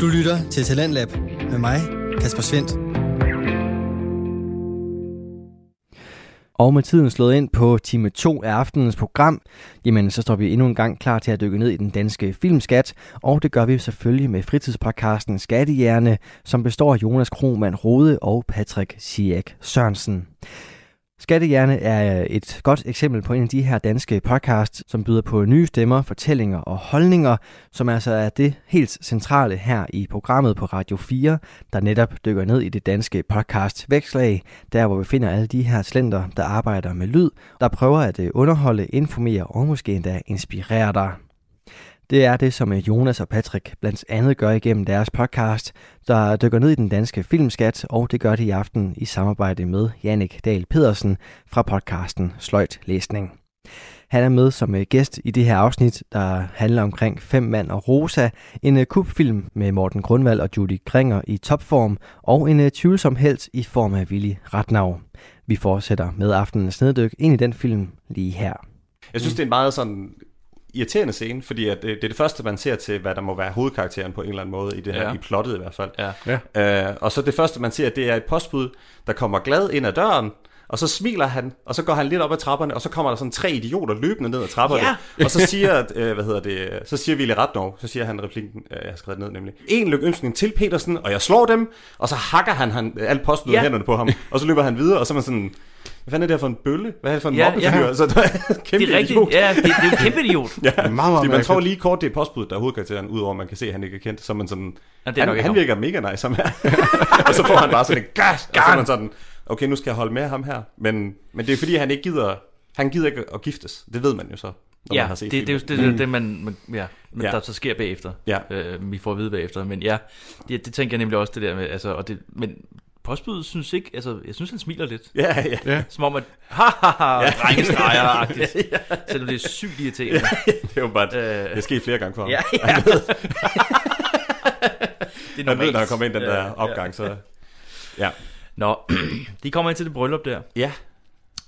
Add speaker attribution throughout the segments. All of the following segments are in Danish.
Speaker 1: Du lytter til Talentlab med mig, Kasper Svendt. Og med tiden slået ind på time 2 af aftenens program, jamen så står vi endnu en gang klar til at dykke ned i den danske filmskat, og det gør vi selvfølgelig med fritidspodcasten Skattehjerne, som består af Jonas Kromand Rode og Patrick Siak Sørensen. Skattehjerne er et godt eksempel på en af de her danske podcasts, som byder på nye stemmer, fortællinger og holdninger, som altså er det helt centrale her i programmet på Radio 4, der netop dykker ned i det danske podcast vækslag, der hvor vi finder alle de her slender, der arbejder med lyd, der prøver at øh, underholde, informere og måske endda inspirere dig. Det er det, som øh, Jonas og Patrick blandt andet gør igennem deres podcast, der dykker ned i den danske filmskat, og det gør de i aften i samarbejde med Jannik Dahl Pedersen fra podcasten Sløjt Læsning. Han er med som øh, gæst i det her afsnit, der handler omkring Fem Mand og Rosa, en øh, kubfilm med Morten Grundvald og Judy Kringer i topform, og en øh, tvivlsom held i form af Willy Ratnau. Vi fortsætter med aftenens neddyk ind i den film lige her.
Speaker 2: Jeg synes, det er en meget sådan irriterende scene, fordi at det, det er det første, man ser til, hvad der må være hovedkarakteren på en eller anden måde, i det her, ja. i plottet i hvert fald. Ja. Ja. Øh, og så det første, man ser, det er et postbud, der kommer glad ind ad døren, og så smiler han, og så går han lidt op ad trapperne, og så kommer der sådan tre idioter løbende ned ad trapperne. Ja. Og så siger, øh, hvad hedder det, så siger Ville Ratnov, så siger han replikken, øh, jeg har skrevet ned nemlig, en lykønskning til Petersen, og jeg slår dem, og så hakker han, han alt posten ja. hænderne på ham, og så løber han videre, og så er man sådan, hvad fanden er det her for en bølle? Hvad er det for en ja, mobbefyr? Ja. Altså,
Speaker 3: kæmpe det er rigtigt, idiot. Ja, det, det er en kæmpe idiot.
Speaker 2: ja, meget, meget fordi man tror lige kort, det er postbuddet, der er hovedkarakteren, udover at man kan se, at han ikke er kendt. Så man sådan, ja, det er han, han virker mega nice, ham her. og så får han bare sådan en gas, og så er man sådan, okay, nu skal jeg holde med ham her. Men, men det er fordi, han ikke gider, han gider ikke at giftes. Det ved man jo så.
Speaker 3: Ja, man har set det, det, det, det, det er det, man, man, ja, men ja. der så sker bagefter. Ja. Øh, vi får at vide bagefter. Men ja, det, det tænker jeg nemlig også det der med, altså, og det, men postbud synes ikke, altså, jeg synes, han smiler lidt.
Speaker 2: Ja, yeah, ja. Yeah.
Speaker 3: Som om, at, ha, ha, ha, ja. drengestreger-agtigt. ja, ja. Selvom det er sygt irriterende.
Speaker 2: ja, det er jo bare, øh, det er sket flere gange for ham.
Speaker 3: Ja, ja. Han ved,
Speaker 2: det er han ved når han kommer ind den der ja, opgang, ja. så... Ja.
Speaker 3: Nå, de kommer ind til det bryllup der.
Speaker 2: Ja.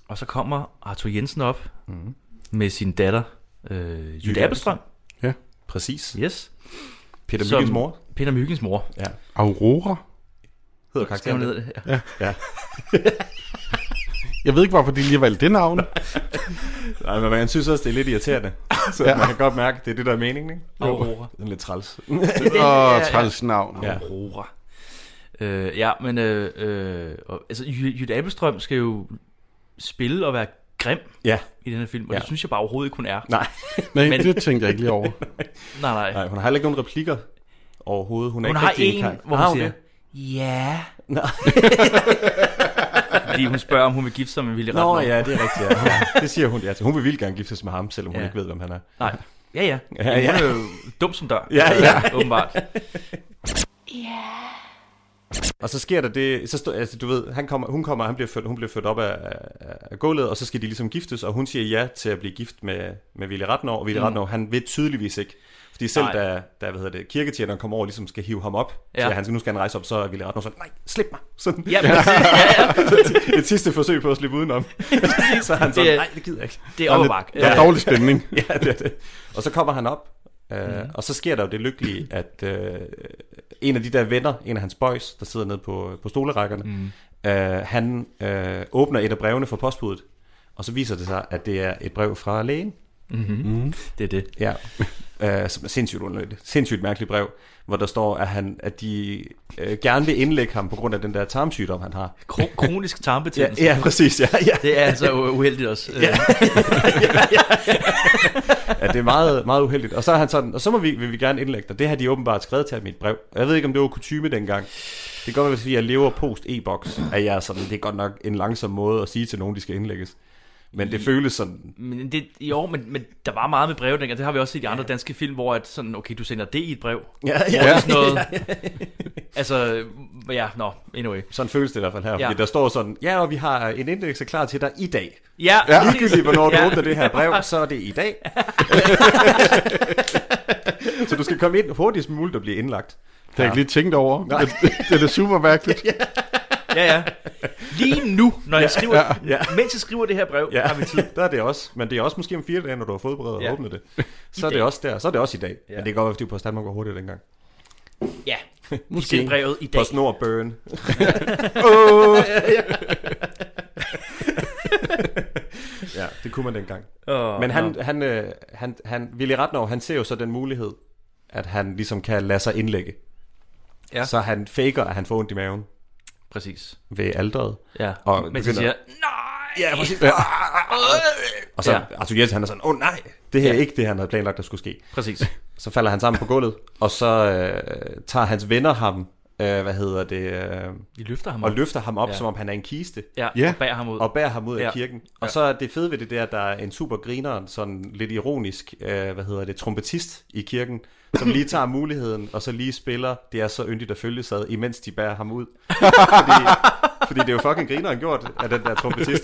Speaker 3: Og så kommer Arthur Jensen op mm. med sin datter, øh, Jytte Appelstrøm.
Speaker 2: Ja, præcis.
Speaker 3: Yes.
Speaker 2: Peter Myggens mor.
Speaker 3: Peter Myggens mor.
Speaker 2: Ja.
Speaker 4: Aurora
Speaker 2: hedder karakteren
Speaker 3: det. Ja. ja.
Speaker 4: jeg ved ikke, hvorfor de lige valgte det navn.
Speaker 2: Nej, men man synes også, det er lidt irriterende. Så ja. man kan godt mærke, det er det, der er meningen, ikke?
Speaker 3: Aurora.
Speaker 2: Den er lidt træls.
Speaker 4: Åh, oh, træls navn.
Speaker 3: Ja. Aurora. Øh, ja, men øh, øh, altså, Jytte Appelstrøm skal jo spille og være grim
Speaker 2: ja.
Speaker 3: i den her film, og ja. det synes jeg bare overhovedet ikke, hun er.
Speaker 2: Nej,
Speaker 4: nej men, det tænkte jeg ikke lige over.
Speaker 3: nej, nej.
Speaker 2: nej, hun har heller ikke nogen replikker overhovedet. Hun, er
Speaker 3: hun
Speaker 2: ikke
Speaker 3: har en, en hvor hun ah, siger, okay. Ja.
Speaker 2: Nå.
Speaker 3: Fordi hun spørger, om hun vil gifte sig med Willy
Speaker 2: Nå, ja, det er rigtigt. Ja. ja. Det siger hun ja til. Hun vil vildt gerne giftes med ham, selvom ja. hun ikke ved, hvem han er.
Speaker 3: Nej. Ja, ja. ja, ja. Hun er jo dum som dør. Øh,
Speaker 2: Ja, ja.
Speaker 3: Åbenbart.
Speaker 2: Ja. Og så sker der det, så stå, altså, du ved, han kommer, hun kommer, han bliver født, hun bliver født op af, af, af gulvet, og så skal de ligesom giftes, og hun siger ja til at blive gift med, med Willy Ratnov, og Willy mm. Ratnov, han vil tydeligvis ikke. Fordi selv nej. da, da hvad hedder det, kirketjeneren kommer over ligesom skal hive ham op, ja. så han skal, nu skal han rejse op, så vil Ratnov sådan, nej, slip mig. Sådan.
Speaker 3: Ja, ja, ja.
Speaker 2: Et sidste forsøg på at slippe udenom. så han sådan, det, nej, det gider jeg ikke.
Speaker 3: Det er overbakke.
Speaker 4: Der er dårlig stemning.
Speaker 2: ja, det er det. Og så kommer han op, øh, mm. og så sker der jo det lykkelige, at øh, en af de der venner, en af hans boys, der sidder nede på, på stolerækkerne, mm. øh, han øh, åbner et af brevene fra postbuddet, og så viser det sig, at det er et brev fra lægen.
Speaker 3: Mm-hmm. Mm. Det er det.
Speaker 2: Ja. øh, som er sindssygt underligt, sindssygt mærkeligt brev, hvor der står, at, han, at de øh, gerne vil indlægge ham på grund af den der tarmsygdom, han har.
Speaker 3: Kro- kronisk tarmbetændelse.
Speaker 2: ja, ja, præcis. Ja, ja.
Speaker 3: Det er altså uheldigt også.
Speaker 2: ja, ja, ja. ja, det er meget, meget uheldigt. Og så, er han sådan, og så må vi, vil vi gerne indlægge dig. Det har de åbenbart skrevet til ham i et brev. Jeg ved ikke, om det var kutume dengang. Det kan godt være, at jeg lever post e-boks, at jeg er sådan, det er godt nok en langsom måde at sige til nogen, de skal indlægges. Men det føles sådan...
Speaker 3: Men det, jo, men, men der var meget med brev dengang. Det har vi også set i andre danske film, hvor at sådan, okay, du sender det i et brev.
Speaker 2: Ja, ja.
Speaker 3: Og sådan noget. altså, ja, nå, no, anyway.
Speaker 2: Sådan føles det i hvert fald her, ja. fordi der står sådan, ja, og vi har en indeks klar til dig i dag.
Speaker 3: Ja.
Speaker 2: ja. Ligegyldigt, hvornår du ja. åbner det her brev, så er det i dag. så du skal komme ind hurtigst muligt og blive indlagt.
Speaker 4: Det har jeg ikke lige tænkt over. Nej. Det, det er super mærkeligt. ja
Speaker 3: ja, ja. Lige nu, når jeg skriver, ja, ja. mens jeg skriver det her brev,
Speaker 2: ja.
Speaker 3: har vi tid.
Speaker 2: Der er det også, men det er også måske om fire dage, når du har forberedt ja. og åbnet det. Så I er dag. det også der, så er det også i dag. Ja. Men det kan godt være, fordi på Danmark var hurtigt dengang.
Speaker 3: Ja, Måske brevet i dag.
Speaker 2: På snor burn.
Speaker 3: oh!
Speaker 2: ja, det kunne man dengang. Oh, Men han, no. han, øh, han, han, Willy Ratnov, han ser jo så den mulighed, at han ligesom kan lade sig indlægge. Ja. Så han faker, at han får ondt i maven.
Speaker 3: Præcis.
Speaker 2: Ved alderet.
Speaker 3: Ja, og men begynder... siger, nej!
Speaker 2: Ja, præcis. Ja. Og så ja. Arthur Jensen, han er sådan, åh oh, nej, det her er ja. ikke det, han havde planlagt, der skulle ske.
Speaker 3: Præcis.
Speaker 2: Så falder han sammen på gulvet, og så øh, tager hans venner ham, øh, hvad hedder det? Øh,
Speaker 3: De løfter ham
Speaker 2: og
Speaker 3: op.
Speaker 2: løfter ham op, ja. som om han er en kiste.
Speaker 3: Ja, ja. og bærer ham ud.
Speaker 2: Og bærer ham ud ja. af kirken. Og ja. så er det fede ved det der, der er en super grineren, sådan lidt ironisk, øh, hvad hedder det, trompetist i kirken, som lige tager muligheden, og så lige spiller, det er så yndigt at følge sig, imens de bærer ham ud. Fordi, fordi det er jo fucking grineren gjort af den der trompetist.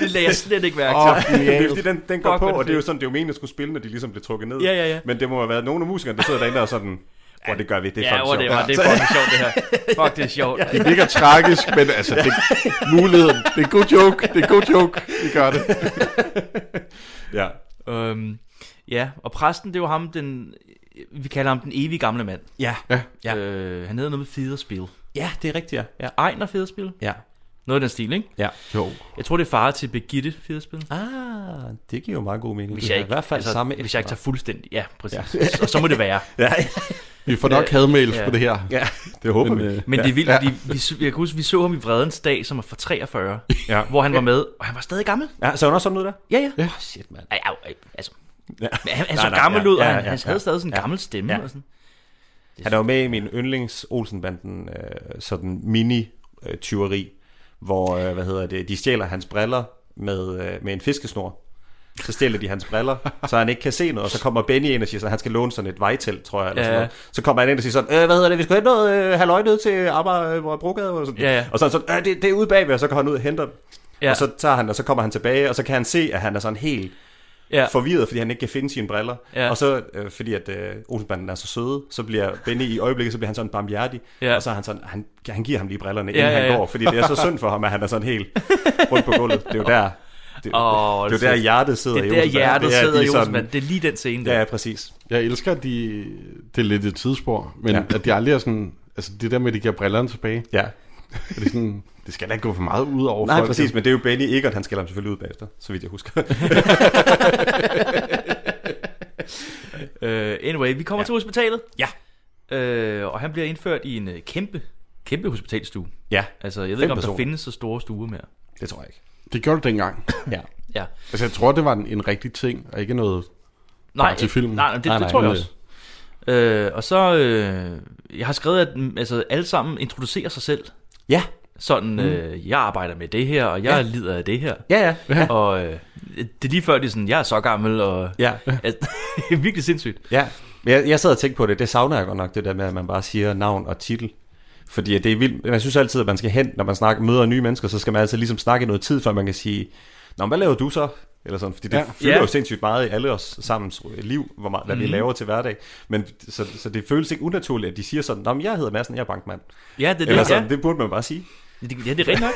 Speaker 3: det lagde jeg slet ikke mærke til.
Speaker 2: Oh, det er fordi, den, den går Fuck, på, og det er jo sådan, det er jo meningen, at skulle spille, når de ligesom blev trukket ned.
Speaker 3: Ja, ja, ja.
Speaker 2: Men det må have været nogle af musikerne, der sidder derinde og sådan, Hvor det gør vi, det er
Speaker 3: ja,
Speaker 2: fucking
Speaker 3: sjovt. Ja, det er fucking sjovt det her. Fuck, det er sjovt.
Speaker 4: Det virker tragisk, men altså, det, muligheden, det er en god joke, det er en god joke, vi gør det.
Speaker 2: ja.
Speaker 3: Øhm, ja, og præsten, det er jo ham, den, vi kalder ham den evige gamle mand.
Speaker 2: Ja.
Speaker 3: ja. Øh, han hedder noget med Fiderspil.
Speaker 2: Ja, det er rigtigt,
Speaker 3: ja. ja. Ejner Federspil?
Speaker 2: Ja.
Speaker 3: Noget af den stil, ikke?
Speaker 2: Ja.
Speaker 4: Jo.
Speaker 3: Jeg tror, det er far til Birgitte Federspil.
Speaker 2: Ah, det giver jo meget god mening.
Speaker 3: Hvis jeg ikke,
Speaker 2: I hvert fald
Speaker 3: altså,
Speaker 2: samme
Speaker 3: hvis jeg ikke tager fuldstændig. Ja, præcis. Ja. og så må det være.
Speaker 2: ja.
Speaker 4: Vi får nok hadmails ja. på det her.
Speaker 2: Ja, øh, det håber
Speaker 3: men,
Speaker 2: vi.
Speaker 3: Men det er vildt,
Speaker 2: ja.
Speaker 3: vi, vi, jeg kan huske, vi så ham i Vredens Dag, som er fra 43,
Speaker 2: Ja.
Speaker 3: hvor han var med, og han var stadig gammel.
Speaker 2: Ja, så han også sådan ud der?
Speaker 3: Ja, ja.
Speaker 2: ja. Oh, shit, mand.
Speaker 3: Ej, ej, altså,
Speaker 2: Ja.
Speaker 3: men han, han
Speaker 2: Nej,
Speaker 3: så
Speaker 2: nej,
Speaker 3: gammel
Speaker 2: ja,
Speaker 3: ud, og
Speaker 2: ja,
Speaker 3: han,
Speaker 2: ja,
Speaker 3: han havde stadig sådan en
Speaker 2: ja.
Speaker 3: gammel stemme.
Speaker 2: Ja.
Speaker 3: Og sådan.
Speaker 2: Han er jo med i min yndlings Olsenbanden øh, sådan mini øh, tyveri, hvor øh, hvad hedder det, de stjæler hans briller med, øh, med en fiskesnor. Så stjæler de hans briller, så han ikke kan se noget, og så kommer Benny ind og siger, at han skal låne sådan et vejtelt, tror jeg, eller
Speaker 3: Ja,
Speaker 2: sådan
Speaker 3: ja.
Speaker 2: noget. Så kommer han ind og siger sådan, øh, hvad hedder det, vi skal hente noget øh, halvøj ned til Amager, øh, hvor jeg brugade, og sådan.
Speaker 3: Ja, ja.
Speaker 2: Og så er han sådan, øh, det, det er ude bagved, og så går han ud og henter dem.
Speaker 3: Ja.
Speaker 2: Ja. Og så tager han, og så kommer han tilbage, og så kan han se, at han er sådan helt
Speaker 3: Ja.
Speaker 2: ja. forvirret, fordi han ikke kan finde sine briller.
Speaker 3: Ja.
Speaker 2: Ja. Og så, øh, fordi at øh, Olsenbanden er så søde, så bliver Benny i øjeblikket, så bliver han sådan barmhjertig.
Speaker 3: Ja.
Speaker 2: Ja. Og så er han sådan, han, han giver ham lige brillerne,
Speaker 3: Ja,
Speaker 2: inden ja,
Speaker 3: ja,
Speaker 2: ja,
Speaker 3: ja.
Speaker 2: han går. Fordi det er så synd for ham, at han er sådan helt rundt på gulvet. Det er jo der, det,
Speaker 3: Åh,
Speaker 2: oh, det er jo der
Speaker 3: altså,
Speaker 2: hjertet sidder
Speaker 3: Det
Speaker 2: i
Speaker 3: er der
Speaker 2: Olsenbanden.
Speaker 3: hjertet
Speaker 2: Det er, at
Speaker 3: sidder
Speaker 2: de
Speaker 3: i
Speaker 2: sådan-
Speaker 3: Olsenbanden. Det er lige den scene der.
Speaker 2: Ja, præcis.
Speaker 4: Jeg elsker, at de, det er lidt et tidsspor, men ja.
Speaker 2: Ja.
Speaker 4: at de aldrig er sådan, altså det der med, at de giver brillerne tilbage,
Speaker 2: Ja.
Speaker 4: er det sådan, det skal da ikke gå for meget ud over
Speaker 2: Nej,
Speaker 4: folk.
Speaker 2: præcis, men det er jo Benny Eggert, han skælder ham selvfølgelig ud bagefter, så vidt jeg husker.
Speaker 3: Øh, anyway, vi kommer ja. til hospitalet.
Speaker 2: Ja.
Speaker 3: Øh, og han bliver indført i en øh, kæmpe, kæmpe hospitalstue.
Speaker 2: ja,
Speaker 3: Altså, jeg ved
Speaker 2: Fem
Speaker 3: ikke, om der
Speaker 2: personer.
Speaker 3: findes så store stuer mere.
Speaker 2: det tror jeg ikke.
Speaker 4: Det gjorde det dengang.
Speaker 2: Ja.
Speaker 3: Ja.
Speaker 4: Altså jeg tror, det var en, en rigtig ting, og ikke noget...
Speaker 3: Nej,
Speaker 4: Bare til filmen.
Speaker 3: Nej, nej, det,
Speaker 2: Nej,
Speaker 3: nej, det
Speaker 2: nej,
Speaker 3: tror jeg
Speaker 4: nej.
Speaker 3: også. Øh, og så, øh, jeg har skrevet, at mm, altså, alle sammen introducerer sig selv.
Speaker 2: Ja,
Speaker 3: Sådan, mm. øh, jeg arbejder med det her, og jeg ja. lider af det her.
Speaker 2: ja, ja. ja.
Speaker 3: Og øh, det er lige før, de er sådan, jeg er så gammel, og...
Speaker 2: ja.
Speaker 3: Altså, det er virkelig sindssygt.
Speaker 2: Ja, men jeg, jeg sad og tænkte på det, det savner jeg godt nok, det der med, at man bare siger navn og titel. Fordi det er vildt, jeg synes altid, at man skal hen, når man snakker, møder nye mennesker, så skal man altid ligesom snakke i noget tid, før man kan sige, Nå, men hvad laver du så? Eller sådan, fordi det
Speaker 4: Ja.
Speaker 2: ja. fylder
Speaker 3: Ja. Mhm.
Speaker 2: jo sindssygt meget i alle os sammen liv, hvor meget, hvad mm. vi laver til hverdag. Men så, så det føles ikke unaturligt, at de siger sådan, Nå, men jeg hedder Madsen, jeg er bankmand.
Speaker 3: Ja, det er
Speaker 2: Eller
Speaker 3: det, ja.
Speaker 2: sådan, det burde man bare sige.
Speaker 3: Det, ja, det er rigtigt nok.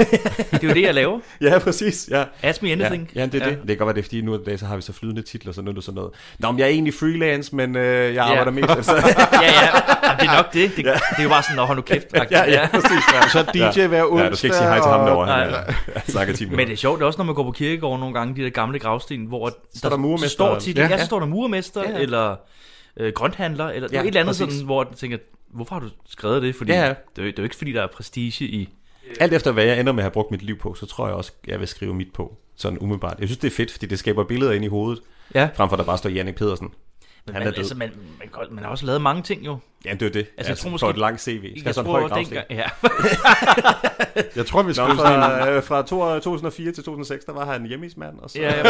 Speaker 3: det er jo det, jeg laver.
Speaker 2: Ja, præcis, ja.
Speaker 3: Ask me anything.
Speaker 2: Ja, ja, det er ja. det. Det kan godt være, det er fordi, nu i dag, så har vi så flydende titler, så nu er det sådan noget. Nå, men jeg er egentlig freelance, men øh, jeg arbejder mest. Altså,
Speaker 3: ja, ja. Jamen, det er nok det. Det, det er jo bare sådan, når hold nu kæft.
Speaker 2: ja, ja, præcis. Ja.
Speaker 4: Så DJ ja. hver onsdag...
Speaker 2: Ja, du skal ikke sige hej til ham derovre.
Speaker 3: Nej.
Speaker 2: Han er- han snakker 10
Speaker 3: Men
Speaker 2: minutter.
Speaker 3: det er sjovt det er også, når man går på kirkegården nogle gange, de der gamle gravsten, hvor
Speaker 2: Står der murermester?
Speaker 3: så står tit, ja.
Speaker 4: Ja.
Speaker 3: ja, så står der murmester, ja,
Speaker 2: Ja,
Speaker 3: ja.
Speaker 2: ja.
Speaker 3: eller øh, grønthandler, eller ja,
Speaker 2: Ja,
Speaker 3: et eller andet
Speaker 2: præcis.
Speaker 3: sådan, hvor jeg tænker, hvorfor har du skrevet det? Fordi
Speaker 2: Ja, ja.
Speaker 3: Det, er, jo- det er jo ikke, fordi der er prestige i...
Speaker 2: Alt efter hvad jeg ender med at have brugt mit liv på, så tror jeg også, jeg vil skrive mit på. Sådan umiddelbart. Jeg synes, det er fedt, fordi det skaber billeder ind i hovedet,
Speaker 3: Ja,
Speaker 2: frem for at der bare står Jannik Pedersen.
Speaker 3: men
Speaker 2: Han
Speaker 3: man,
Speaker 2: er død.
Speaker 3: altså, man, man, kan godt- man har også lavet mange ting jo.
Speaker 2: Jamen, det er jo det.
Speaker 3: Altså, jeg tror
Speaker 2: for
Speaker 3: måske-
Speaker 2: et langt CV. Skal jeg sådan en
Speaker 3: tror,
Speaker 2: høj gravsten?
Speaker 3: dengang- ja.
Speaker 4: Jeg tror, vi
Speaker 2: Nå,
Speaker 4: skal sådan en...
Speaker 2: fra, øh, fra to- 2004 til 2006, der var han hjemmesmand, og så...
Speaker 3: ja, ja.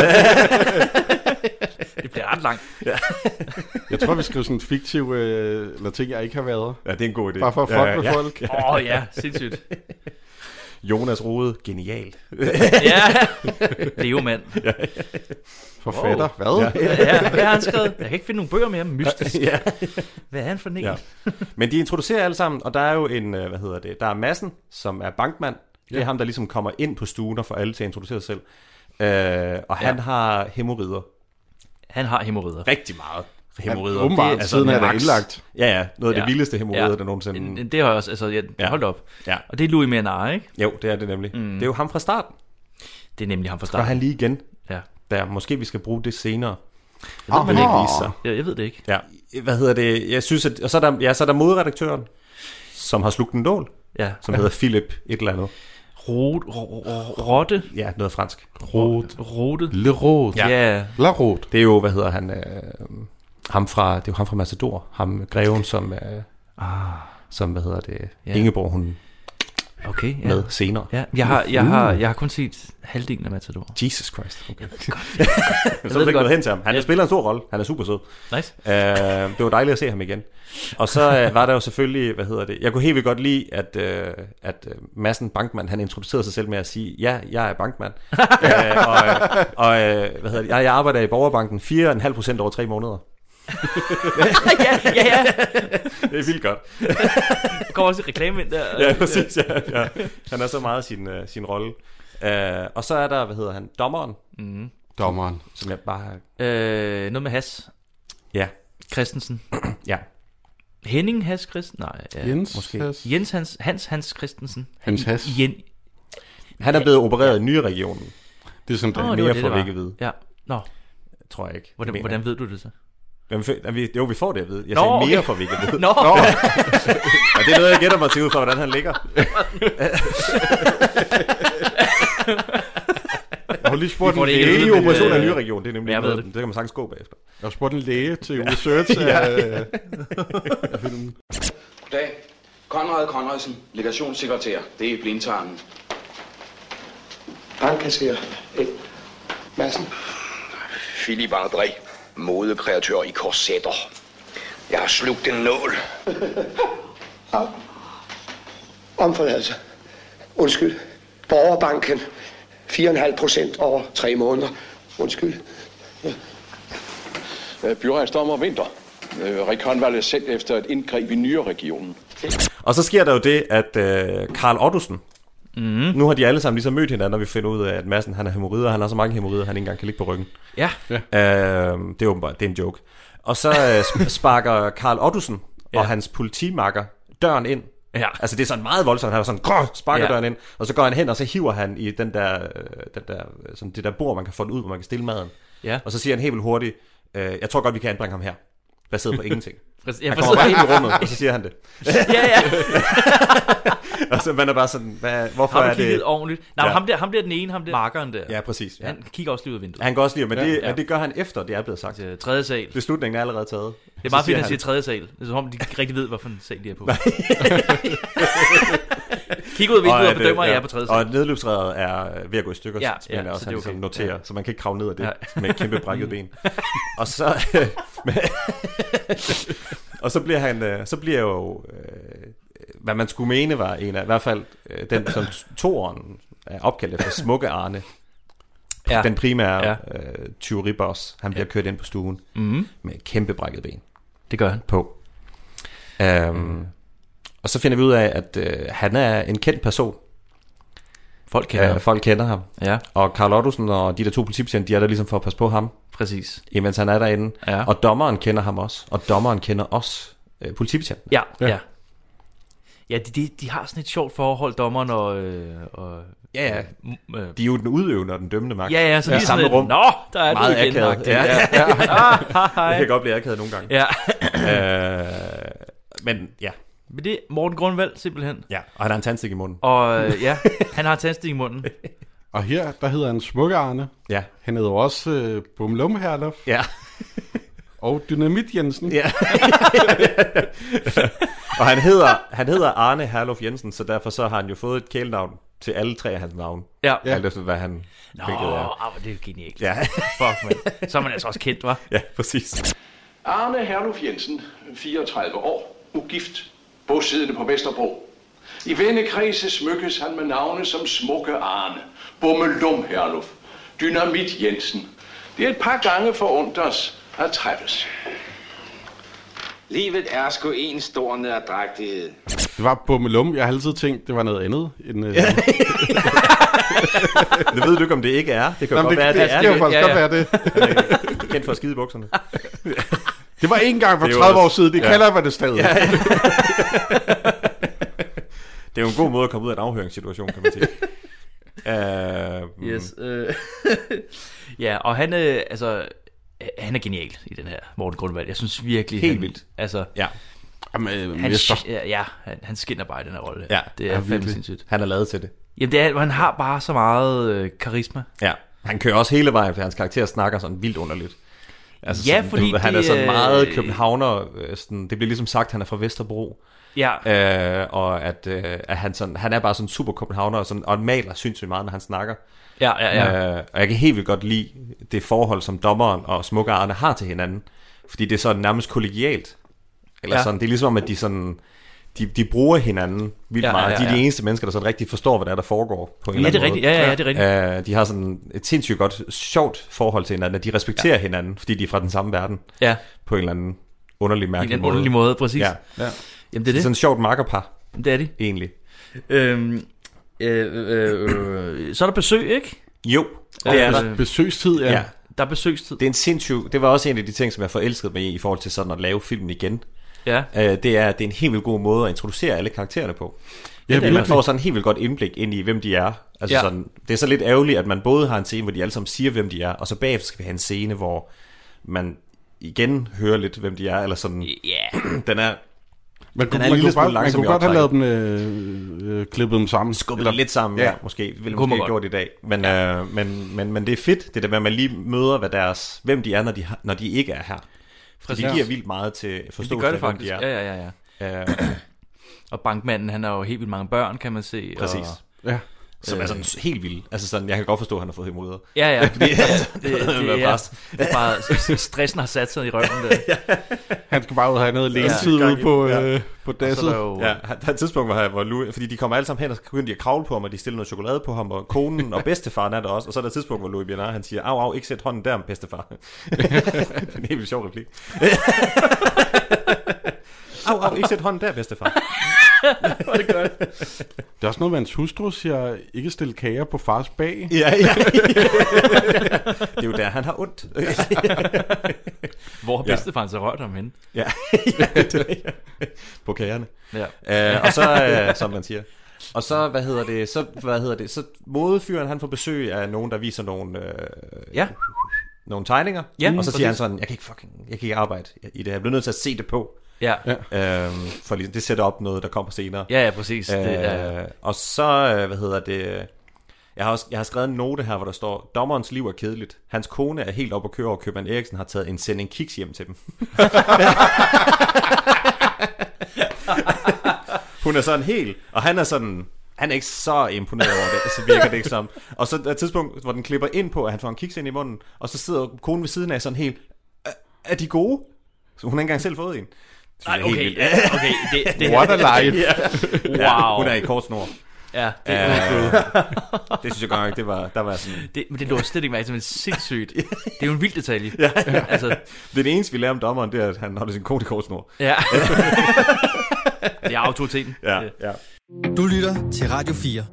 Speaker 3: det bliver ret langt.
Speaker 4: Jeg tror, vi skal sådan en fiktiv... Øh, eller ting, jeg ikke har været.
Speaker 2: ja, det er en god idé.
Speaker 4: Bare for at fuck
Speaker 2: ja, ja,
Speaker 4: med
Speaker 2: ja.
Speaker 4: folk.
Speaker 3: Åh oh, ja, sindssygt.
Speaker 2: Jonas Rode, genial.
Speaker 3: Ja, Leo mand.
Speaker 4: Forfatter.
Speaker 3: Wow.
Speaker 4: Hvad? Ja.
Speaker 3: Ja, hvad har han skrevet? Jeg kan ikke finde nogen bøger mere mystisk.
Speaker 2: ja.
Speaker 3: Hvad er han for en?
Speaker 2: ja.
Speaker 3: Ja.
Speaker 2: Men de introducerer alle sammen, og der er jo en, øh, hvad hedder det, der er Massen, som er bankmand. Det er ham, der ligesom kommer ind på stuen og får alle til at introducere sig selv. Øh, og han
Speaker 3: Ja.
Speaker 2: har hemorrider
Speaker 3: Han har hemorrider.
Speaker 2: rigtig meget. hemorrider.
Speaker 4: Ja, åbenbart, altså, siden er der indlagt.
Speaker 2: Ja, ja. Noget af ja. det vildeste hemorrider, ja. der nogensinde...
Speaker 3: En, en, det har jeg også, altså, jeg, ja. hold op. Ja. Og det er Louis Menard, ikke?
Speaker 2: Jo, det er det nemlig. Mm. Det er jo ham fra starten.
Speaker 3: Det er nemlig ham fra
Speaker 2: starten. Skal han lige igen?
Speaker 3: Ja.
Speaker 2: Der, måske vi skal bruge det senere.
Speaker 3: Jeg ved, man ikke vise sig. Ja, jeg ved det ikke.
Speaker 2: Ja. Hvad hedder det? Jeg synes, at, og så er, der, ja, så er der modredaktøren, som har slugt en dål, ja. som hedder Philip et eller andet.
Speaker 3: Rot, rotte.
Speaker 2: Ja, noget fransk.
Speaker 4: Rot.
Speaker 3: Rote.
Speaker 4: Le Rot.
Speaker 3: Ja. Yeah.
Speaker 4: La Rot.
Speaker 2: Det er jo, hvad hedder han, øh, ham fra, det er jo ham fra Macedor, ham greven, som, øh, ah. som hvad hedder det, ja. Ingeborg, hun
Speaker 3: okay,
Speaker 2: ja. med senere.
Speaker 3: Ja, jeg, har, jeg, har, jeg har kun set halvdelen af Matador.
Speaker 2: Jesus Christ. Okay.
Speaker 3: Jeg ved det godt. Jeg ved
Speaker 2: det så er det gået hen til ham. Han yeah. spiller en stor rolle. Han er super sød.
Speaker 3: Nice.
Speaker 2: Uh, det var dejligt at se ham igen. Og så uh, var der jo selvfølgelig, hvad hedder det, jeg kunne helt vildt godt lide, at, uh, at uh, Madsen Bankmann, han introducerede sig selv med at sige, ja, jeg er bankmand. uh, og og uh, hvad hedder det, jeg, jeg arbejder i Borgerbanken 4,5% over tre måneder.
Speaker 3: ja, ja, ja.
Speaker 2: Det er vildt godt.
Speaker 3: der kommer også et reklame ind der.
Speaker 2: Ja, præcis. Ja, ja. Han har så meget sin, uh, sin rolle. Uh, og så er der, hvad hedder han, dommeren.
Speaker 3: Mm.
Speaker 4: Dommeren.
Speaker 2: Som jeg bare...
Speaker 3: Øh, noget med Has.
Speaker 2: Ja.
Speaker 3: Christensen.
Speaker 2: ja.
Speaker 3: Henning Has Christensen? Nej,
Speaker 4: ja, Jens måske. Has.
Speaker 3: Jens Hans, Hans, Hans Christensen.
Speaker 4: Hans Has.
Speaker 3: Jen...
Speaker 2: Han er blevet opereret i nye regionen.
Speaker 4: Det er som
Speaker 2: oh, det mere får vi ikke at vide.
Speaker 3: Ja. Nå.
Speaker 2: Tror jeg ikke.
Speaker 3: Hvordan, hvordan ved du det så?
Speaker 2: Jamen, vi, jo, vi får det at vide. Jeg sagde Nå, mere, okay. for vi kan vide.
Speaker 3: Nå. Nå.
Speaker 2: Og det er noget, jeg gætter mig til ud fra, hvordan han ligger.
Speaker 4: Jeg har lige spurgt en
Speaker 2: læge i operationen af en ny region. Det er nemlig øh, jeg noget, det. det kan man sagtens gå bagefter.
Speaker 4: Jeg har spurgt en læge til research af,
Speaker 5: af filmen. Goddag. Konrad Konradsen, legationssekretær. Det er blindtarmen.
Speaker 6: Bankasser. Eh. Madsen.
Speaker 5: Philip André modekreatør i korsetter. Jeg har slugt en nål.
Speaker 6: ja. Omforladelse. altså. Undskyld. Borgerbanken. 4,5 procent over tre måneder. Undskyld.
Speaker 7: Ja. Byrejsdommer vinter. Rik Håndvalg selv efter et indgreb i nyere regionen.
Speaker 2: Og så sker der jo det, at øh, Karl Ottosen, Mm. Nu har de alle sammen ligesom mødt hinanden, og vi finder ud af, at massen han er hemorrider, han har så mange hemorrider, han ikke engang kan ligge på ryggen.
Speaker 3: Ja.
Speaker 2: ja. Øh, det er åbenbart, det er en joke. Og så øh, sparker Karl Ottosen ja. og hans politimakker døren ind.
Speaker 3: Ja.
Speaker 2: Altså det er sådan meget voldsomt, han er sådan, grå, sparker ja. døren ind, og så går han hen, og så hiver han i den der, øh, den der sådan det der bord, man kan få det ud, hvor man kan stille maden.
Speaker 3: Ja.
Speaker 2: Og så siger han helt vildt hurtigt, øh, jeg tror godt, vi kan anbringe ham her baseret på ingenting.
Speaker 3: Ja,
Speaker 2: han kommer bare ind i rummet, og så siger han det.
Speaker 3: ja, ja.
Speaker 2: og så man er bare sådan, hvad, hvorfor
Speaker 3: har
Speaker 2: er det...
Speaker 3: ordentligt? Nej, ja. ham, der, ham der den ene, ham der markeren der.
Speaker 2: Ja, præcis. Ja.
Speaker 3: Han kigger også lige ud af vinduet.
Speaker 2: Han går også lige, men, ja, det, ja. men det gør han efter, det er blevet sagt. Det
Speaker 3: er tredje sal.
Speaker 2: Beslutningen er allerede taget.
Speaker 3: Det er meget fint, at han siger tredje sal. Det er som om, de ikke rigtig ved, hvorfor en sal de er på. Kig ud af vinduet og, og bedømmer, at ja. jeg er på tredje sal.
Speaker 2: Og nedløbsrædet er ved at gå i stykker, ja, ja, også, så han ligesom okay. noterer, ja. så man kan ikke kravle ned af det ja. med et kæmpe brækket ben. og så... og så bliver han, øh, så bliver jo, øh, hvad man skulle mene var en af, i hvert fald øh, den, som toren er opkaldt efter, Smukke Arne. Ja. Den primære ja. øh, tyveriboss, han bliver ja. kørt ind på stuen
Speaker 3: mm.
Speaker 2: med kæmpe brækket ben.
Speaker 3: Det gør han.
Speaker 2: På. Um, mm. Og så finder vi ud af, at øh, han er en kendt person.
Speaker 3: Folk kender, øh, ham.
Speaker 2: folk kender ham.
Speaker 3: Ja.
Speaker 2: Og Carl Ottosen og de der to politibetjente, de er der ligesom for at passe på ham.
Speaker 3: Præcis.
Speaker 2: Imens han er derinde.
Speaker 3: Ja.
Speaker 2: Og dommeren kender ham også. Og dommeren kender også øh, politibetjenten.
Speaker 3: Ja, ja. ja. Ja, de, de, de har sådan et sjovt forhold, dommeren og... Øh, og mm,
Speaker 2: ja, ja. Øh, de er jo den udøvende og den dømmende magt.
Speaker 3: Ja, ja, så ja.
Speaker 2: lige samme
Speaker 3: et,
Speaker 2: rum.
Speaker 3: Nå, der er Meget du igen,
Speaker 2: akavet. Ja, ja. ja.
Speaker 3: ah, hej.
Speaker 2: Det kan godt blive akavet nogle gange.
Speaker 3: Ja.
Speaker 2: øh, men ja,
Speaker 3: men det er Morten Grundvald simpelthen.
Speaker 2: Ja, og han har en tandstik i munden.
Speaker 3: Og øh, ja, han har en tandstik i munden.
Speaker 4: og her, der hedder han Smukke Arne.
Speaker 2: Ja.
Speaker 4: Han hedder også øh, Bumlum Herlof.
Speaker 2: Ja.
Speaker 4: og Dynamit Jensen.
Speaker 2: Ja. og han hedder, han hedder Arne Herlof Jensen, så derfor så har han jo fået et kælenavn til alle tre af hans navne.
Speaker 3: Ja.
Speaker 2: ja. Alt efter, hvad han...
Speaker 3: Nå, er. Arh, det er jo genialt.
Speaker 2: Ja.
Speaker 3: Fuck, man. Så er man altså også kendt, var.
Speaker 2: Ja, præcis.
Speaker 8: Arne Herlof Jensen, 34 år, ugift, bosiddende på Vesterbro. I vennekredse smykkes han med navne som Smukke Arne, Bummelum Herluf, Dynamit Jensen. Det er et par gange forundt os at træffes.
Speaker 5: Livet er sgu en stor nederdragtighed.
Speaker 4: Det var Bummelum. Jeg har altid tænkt, det var noget andet end... Øh...
Speaker 2: det ved du ikke, om det ikke er. Det kan Nå, godt
Speaker 4: det,
Speaker 2: være, det,
Speaker 4: det,
Speaker 2: er
Speaker 4: det. Det kan faktisk ja, ja. godt være det.
Speaker 2: Kendt for skidebukserne.
Speaker 4: Det var ikke engang for 30 år siden. Det ja. kalder man det stadig. Ja, ja.
Speaker 2: det er jo en god måde at komme ud af en afhøringssituation, kan man sige. Uh,
Speaker 3: yes. Øh. ja, og han, øh, altså, han er genial i den her, Morten Grundvald. Jeg synes virkelig...
Speaker 2: Helt
Speaker 3: han,
Speaker 2: vildt.
Speaker 3: Altså,
Speaker 2: ja.
Speaker 3: Jamen, han, ja, ja, han, han skinner bare i den her rolle.
Speaker 2: Ja,
Speaker 3: det er, er fandme sindssygt.
Speaker 2: Han er lavet til det.
Speaker 3: Jamen, det er, han har bare så meget øh, karisma.
Speaker 2: Ja, han kører også hele vejen, for hans karakter snakker sådan vildt underligt.
Speaker 3: Altså ja, sådan, fordi
Speaker 2: du, han er sådan meget københavner. Sådan, det bliver ligesom sagt, at han er fra Vesterbro.
Speaker 3: Ja.
Speaker 2: Øh, og at, øh, at han, sådan, han er bare sådan super københavner, og, sådan, og maler sindssygt meget, når han snakker.
Speaker 3: Ja, ja, ja.
Speaker 2: Øh, og jeg kan helt vildt godt lide det forhold, som dommeren og smukkerne har til hinanden. Fordi det er sådan nærmest kollegialt. Eller ja. sådan, det er ligesom, at de sådan... De, de bruger hinanden vildt ja, meget. Ja, ja, ja. De er de eneste mennesker, der sådan rigtig forstår, hvad der, er, der foregår på en
Speaker 3: ja,
Speaker 2: eller anden
Speaker 3: det er rigtigt. Ja, ja, ja, det er rigtigt.
Speaker 2: Øh, de har sådan et sindssygt godt, sjovt forhold til hinanden, at de respekterer ja. hinanden, fordi de er fra den samme verden.
Speaker 3: Ja.
Speaker 2: På en eller anden underlig mærkelig
Speaker 3: måde. En underlig måde, præcis.
Speaker 2: Ja. ja.
Speaker 3: Jamen, det er det.
Speaker 2: Sådan et sjovt makkerpar.
Speaker 3: Det er det.
Speaker 2: Egentlig.
Speaker 3: Øhm, øh, øh, øh, så er der besøg, ikke? Øh,
Speaker 2: Jo,
Speaker 4: det er der. Besøgstid, ja. ja.
Speaker 3: Der er besøgstid.
Speaker 2: Det er en sindssyg... Det var også en af de ting, som jeg forelskede mig i, i forhold til sådan at lave filmen igen.
Speaker 3: Ja.
Speaker 2: Øh, det er, at det er en helt vildt god måde at introducere alle karaktererne på. Ja, det, man får sådan en helt vildt godt indblik ind i, hvem de er. Altså ja. sådan, det er så lidt ærgerligt, at man både har en scene, hvor de alle sammen siger, hvem de er, og så bagefter skal vi have en scene, hvor man igen hører lidt, hvem de er, eller sådan...
Speaker 3: Yeah.
Speaker 2: den er
Speaker 4: man kunne, man kunne, bare, man kunne godt have lavet dem, øh, øh, klippet dem sammen.
Speaker 2: Skubbet eller, lidt sammen, ja. ja måske. Ville måske ikke gjort i dag. Men, ja. øh, men, men, men det er fedt, det der med, at man lige møder, hvad deres, hvem de er, når de, når de ikke er her. For det giver vildt meget til forståelse
Speaker 3: det gør det faktisk. de er. Ja, ja, ja. ja. Øh. og bankmanden, han har jo helt vildt mange børn, kan man se.
Speaker 2: Præcis. Og,
Speaker 4: ja.
Speaker 2: Som er sådan
Speaker 3: Øh.
Speaker 2: helt vild. Altså sådan, jeg kan godt forstå, at han har fået hemorrider.
Speaker 3: Ja, ja. Fordi, altså, det, det, det, er, det er bare, stressen har sat sig i røven. Der.
Speaker 4: Han skal bare ud og have noget lægetid ja. ude på, ja. øh, på dasset.
Speaker 2: Jo... Ja, der er et tidspunkt, hvor, han, hvor Louis, fordi de kommer alle sammen hen, og så begynder de at kravle på ham, og de stiller noget chokolade på ham, og konen og bedstefaren er der også. Og så er der et tidspunkt, hvor Louis Bernard, han siger, au, au, ikke sæt hånden der, med bedstefar. det er en helt sjov replik. au, au, ikke sæt hånden der, bedstefar.
Speaker 3: Hvor det godt.
Speaker 4: Det er også noget med hans hustru, siger, ikke stille kager på fars bag.
Speaker 2: Ja, ja. ja. det er jo der, han har ondt.
Speaker 3: Hvor har bedstefaren så rørt ham hen?
Speaker 2: Ja, ja det er det. På kagerne.
Speaker 3: Ja.
Speaker 2: Øh, og så, øh, som man siger. Og så, hvad hedder det, så, hvad hedder det, så modefyren, han får besøg af nogen, der viser nogle... Øh,
Speaker 3: ja
Speaker 2: nogle tegninger,
Speaker 3: ja,
Speaker 2: og så siger han sådan, jeg kan ikke fucking, jeg kan ikke arbejde i det her, jeg bliver nødt til at se det på.
Speaker 3: Ja.
Speaker 2: ja. Øhm, for ligesom, det sætter op noget, der kommer senere.
Speaker 3: Ja, ja, præcis. Øh, det, ja.
Speaker 2: Og så, øh, hvad hedder det... Jeg har, også, jeg har skrevet en note her, hvor der står, dommerens liv er kedeligt. Hans kone er helt oppe at køre, og købmand Eriksen har taget en sending kiks hjem til dem. Hun er sådan helt, og han er sådan, han er ikke så imponeret over det, så virker det ikke som. Og så er et tidspunkt, hvor den klipper ind på, at han får en kiks ind i munden, og så sidder konen ved siden af sådan helt, er de gode? Så hun har ikke engang selv fået en.
Speaker 3: Nej, okay, helt... ja, okay. Det, det,
Speaker 4: What a life. yeah.
Speaker 3: Wow. Ja,
Speaker 2: hun er i kort snor.
Speaker 3: Ja, det,
Speaker 2: uh, øh, det synes jeg godt nok, det var, der var sådan...
Speaker 3: Det, men det lå slet ikke mærke til, men sindssygt. Det er jo en vild detalje.
Speaker 2: ja, ja. Altså. Det er det eneste, vi lærer om dommeren, det er, at han holder sin kone i kort snor.
Speaker 3: Ja. det er autoriteten.
Speaker 2: Ja, ja.
Speaker 1: Du lytter til Radio 4.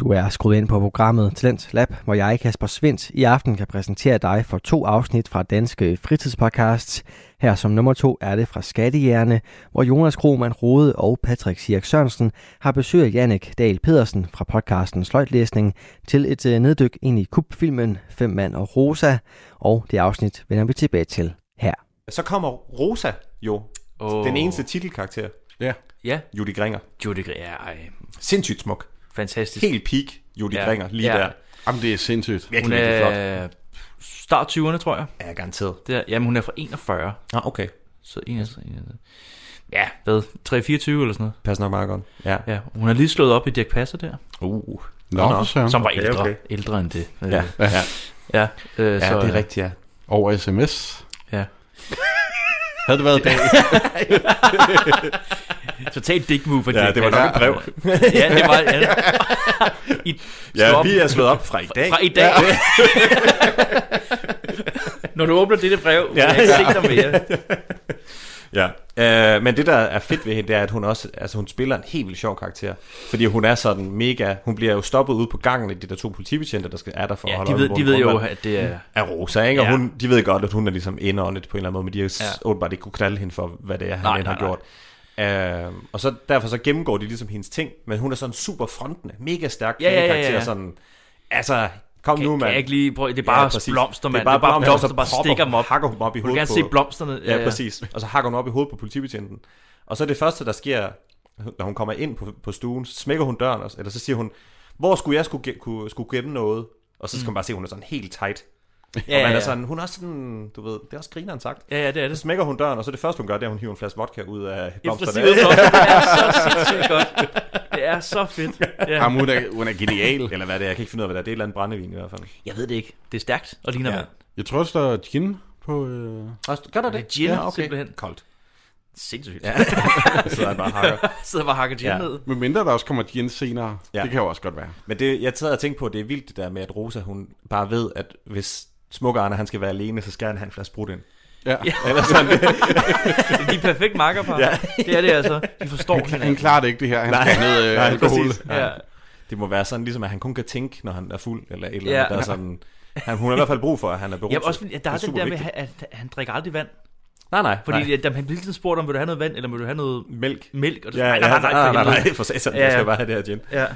Speaker 1: Du er skruet ind på programmet Talent Lab, hvor jeg, Kasper Svindt, i aften kan præsentere dig for to afsnit fra Danske Fritidspodcasts. Her som nummer to er det fra Skattehjerne, hvor Jonas Krohmann Rode og Patrick Sirk Sørensen har besøgt Jannik Dahl Pedersen fra podcasten Sløjtlæsning til et øh, neddyk ind i kubfilmen Fem Mand og Rosa, og det afsnit vender vi tilbage til her.
Speaker 2: Så kommer Rosa jo, oh. den eneste titelkarakter.
Speaker 4: Ja.
Speaker 3: ja.
Speaker 2: Judy Gringer.
Speaker 3: Judy Gringer, ja, ej.
Speaker 2: Sindssygt smuk.
Speaker 3: Fantastisk.
Speaker 2: Helt peak Judy ja. Gringer lige ja. der.
Speaker 4: Jamen, det er sindssygt.
Speaker 2: Virkelig, hun er flot.
Speaker 3: start 20'erne, tror jeg.
Speaker 2: Ja, garanteret.
Speaker 3: Det er, jamen, hun er fra 41.
Speaker 2: Ah, okay.
Speaker 3: Så 41, 41. altså. Ja, hvad? 3-24 eller sådan noget.
Speaker 2: Passer nok meget godt.
Speaker 3: Ja. ja. Hun har lige slået op i Dirk Passer der.
Speaker 2: Uh.
Speaker 4: Nå, Nå
Speaker 3: Som var ældre. Okay, okay. Ældre end det.
Speaker 2: Ja, ja.
Speaker 3: Ja, øh,
Speaker 2: ja så, det er rigtigt, ja.
Speaker 4: Over sms.
Speaker 3: Ja.
Speaker 4: Havde det været i dag.
Speaker 3: Totalt dick move.
Speaker 2: Ja, det var nok et brev.
Speaker 3: ja, det var... Ja,
Speaker 2: I, ja vi er slået op fra i dag.
Speaker 3: Fra i dag. Ja. Når du åbner dette brev, ja, jeg ikke ja. se dig mere.
Speaker 2: Ja. Øh, men det, der er fedt ved hende, det er, at hun også altså, hun spiller en helt vildt sjov karakter. Fordi hun er sådan mega... Hun bliver jo stoppet ude på gangen af de der to politibetjente, der skal er der for
Speaker 3: Ja,
Speaker 2: at holde
Speaker 3: de
Speaker 2: øje
Speaker 3: ved-
Speaker 2: med
Speaker 3: de ved jo,
Speaker 2: Brundtland.
Speaker 3: at det er-
Speaker 2: Er Rosa, ikke? Og
Speaker 3: Ja.
Speaker 2: hun, de ved godt, at hun er ligesom indåndet på en eller anden måde, men de har jo ja.
Speaker 3: Ja.
Speaker 2: åbenbart ikke kunne knalde hende for, hvad det er, han
Speaker 3: Nej,
Speaker 2: nej, har
Speaker 3: nej, nej.
Speaker 2: gjort. Øh, og så derfor så gennemgår de ligesom hendes ting, men hun er sådan super frontende, mega stærk
Speaker 3: Ja, ja, ja, ja,
Speaker 2: kvindekarakter,
Speaker 3: ja.
Speaker 2: sådan, altså, kom
Speaker 3: Kan-
Speaker 2: nu,
Speaker 3: kan
Speaker 2: mand.
Speaker 3: jeg ikke lige prøve- det er bare
Speaker 2: præcis.
Speaker 3: blomster, mand.
Speaker 2: Det er bare blomster,
Speaker 3: blomster,
Speaker 2: så
Speaker 3: bare
Speaker 2: propper-
Speaker 3: stikker dem op.
Speaker 2: Hakker hun op i
Speaker 3: Du vil
Speaker 2: hovedet
Speaker 3: gerne
Speaker 2: på-
Speaker 3: se blomsterne.
Speaker 2: Ja,
Speaker 3: Ja,
Speaker 2: ja,
Speaker 3: ja.
Speaker 2: præcis. Og så hakker hun op i hovedet på politibetjenten. Og så det første, der sker, når hun kommer ind på, på stuen, så smækker hun døren, og- eller så siger hun, hvor skulle jeg skulle, ge- kunne, skulle gemme noget? Og så skal man bare se, at hun er sådan helt tight. Ja, og
Speaker 3: ja,
Speaker 2: man er
Speaker 3: ja.
Speaker 2: sådan, hun er også sådan, du ved, det er også grineren sagt.
Speaker 3: Ja, ja, det er
Speaker 2: Så
Speaker 3: det.
Speaker 2: smækker hun døren, og så det første, hun gør, det er, at hun hiver en flaske vodka ud af
Speaker 3: Efter
Speaker 2: blomsterne.
Speaker 3: sig ved blomster. Det er så sindssygt godt. Det er så fedt. Ja.
Speaker 4: Jamen, hun, er, hun er genial.
Speaker 2: Eller hvad det er, jeg kan ikke finde ud af, hvad det er. Det er et eller andet brændevin i hvert fald.
Speaker 3: Jeg ved det ikke. Det er stærkt og ligner
Speaker 2: Ja.
Speaker 3: ja. vand.
Speaker 4: Jeg tror også, der er gin på... Øh...
Speaker 2: Og gør der det?
Speaker 3: Gin, ja, okay. simpelthen.
Speaker 2: Koldt.
Speaker 3: Sindssygt.
Speaker 2: Ja.
Speaker 3: Ja.
Speaker 2: Så er det bare hakker.
Speaker 3: Sidder bare og hakker gin
Speaker 2: Ja.
Speaker 3: ja. ned.
Speaker 4: Med mindre der også kommer gin senere.
Speaker 2: Ja.
Speaker 4: Ja. Det kan jo også godt være.
Speaker 2: Men det, jeg sad og tænkte på, at det er vildt det der med, at Rosa, hun bare ved, at hvis smukke Arne, han skal være alene, så skal han have en flaske brudt ind.
Speaker 4: Ja.
Speaker 2: Eller sådan, det,
Speaker 3: De er perfekt makkerpar.
Speaker 2: Ja.
Speaker 3: Ja. Det er det altså. De forstår
Speaker 4: Han
Speaker 3: hinanden.
Speaker 4: klarer det ikke, det her. Han
Speaker 2: Nej.
Speaker 4: skal have noget øh,
Speaker 2: Nej,
Speaker 4: alkohol.
Speaker 2: præcis.
Speaker 3: Ja.
Speaker 2: det må være sådan, ligesom at han kun kan tænke, når han er fuld, eller et eller andet.
Speaker 3: Ja.
Speaker 2: Ja. Der er sådan, han, hun har i hvert fald brug for, at han er beruset.
Speaker 3: Ja, også, fordi, at der er,
Speaker 2: Det
Speaker 3: den
Speaker 2: super
Speaker 3: der med,
Speaker 2: vigtigt.
Speaker 3: at han drikker aldrig vand.
Speaker 2: Nej, nej,
Speaker 3: Fordi
Speaker 2: nej.
Speaker 3: nej. han bliver hele tiden spurgt om, vil du have noget vand, eller vil du have noget
Speaker 2: Mælk.
Speaker 3: mælk? Og det,
Speaker 2: Ja, nej, nej, nej, nej, nej,
Speaker 3: helvede.
Speaker 2: nej, for satan,
Speaker 3: Ja,
Speaker 2: jeg skal
Speaker 3: ja.
Speaker 2: bare have det her gin. Det
Speaker 3: Ja.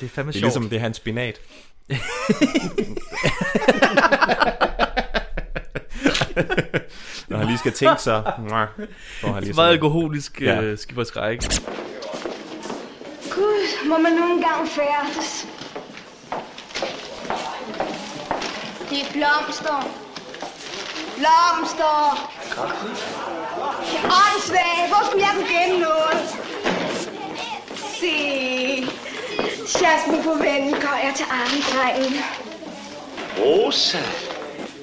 Speaker 3: Det er fandme
Speaker 2: er
Speaker 3: sjovt.
Speaker 2: ligesom, det er hans spinat. Når han lige skal tænke, så... Får han lige
Speaker 3: Det er meget
Speaker 2: sådan-
Speaker 3: alkoholisk
Speaker 2: Ja.
Speaker 3: ja. skipper skræk.
Speaker 9: Gud, må man nogle gange færdes. Det er blomster. Blomster. Åndssvagt, hvor skulle jeg kunne gemme noget? Se. Jasmin på vennen går jeg til armdrengen.
Speaker 6: Rosa,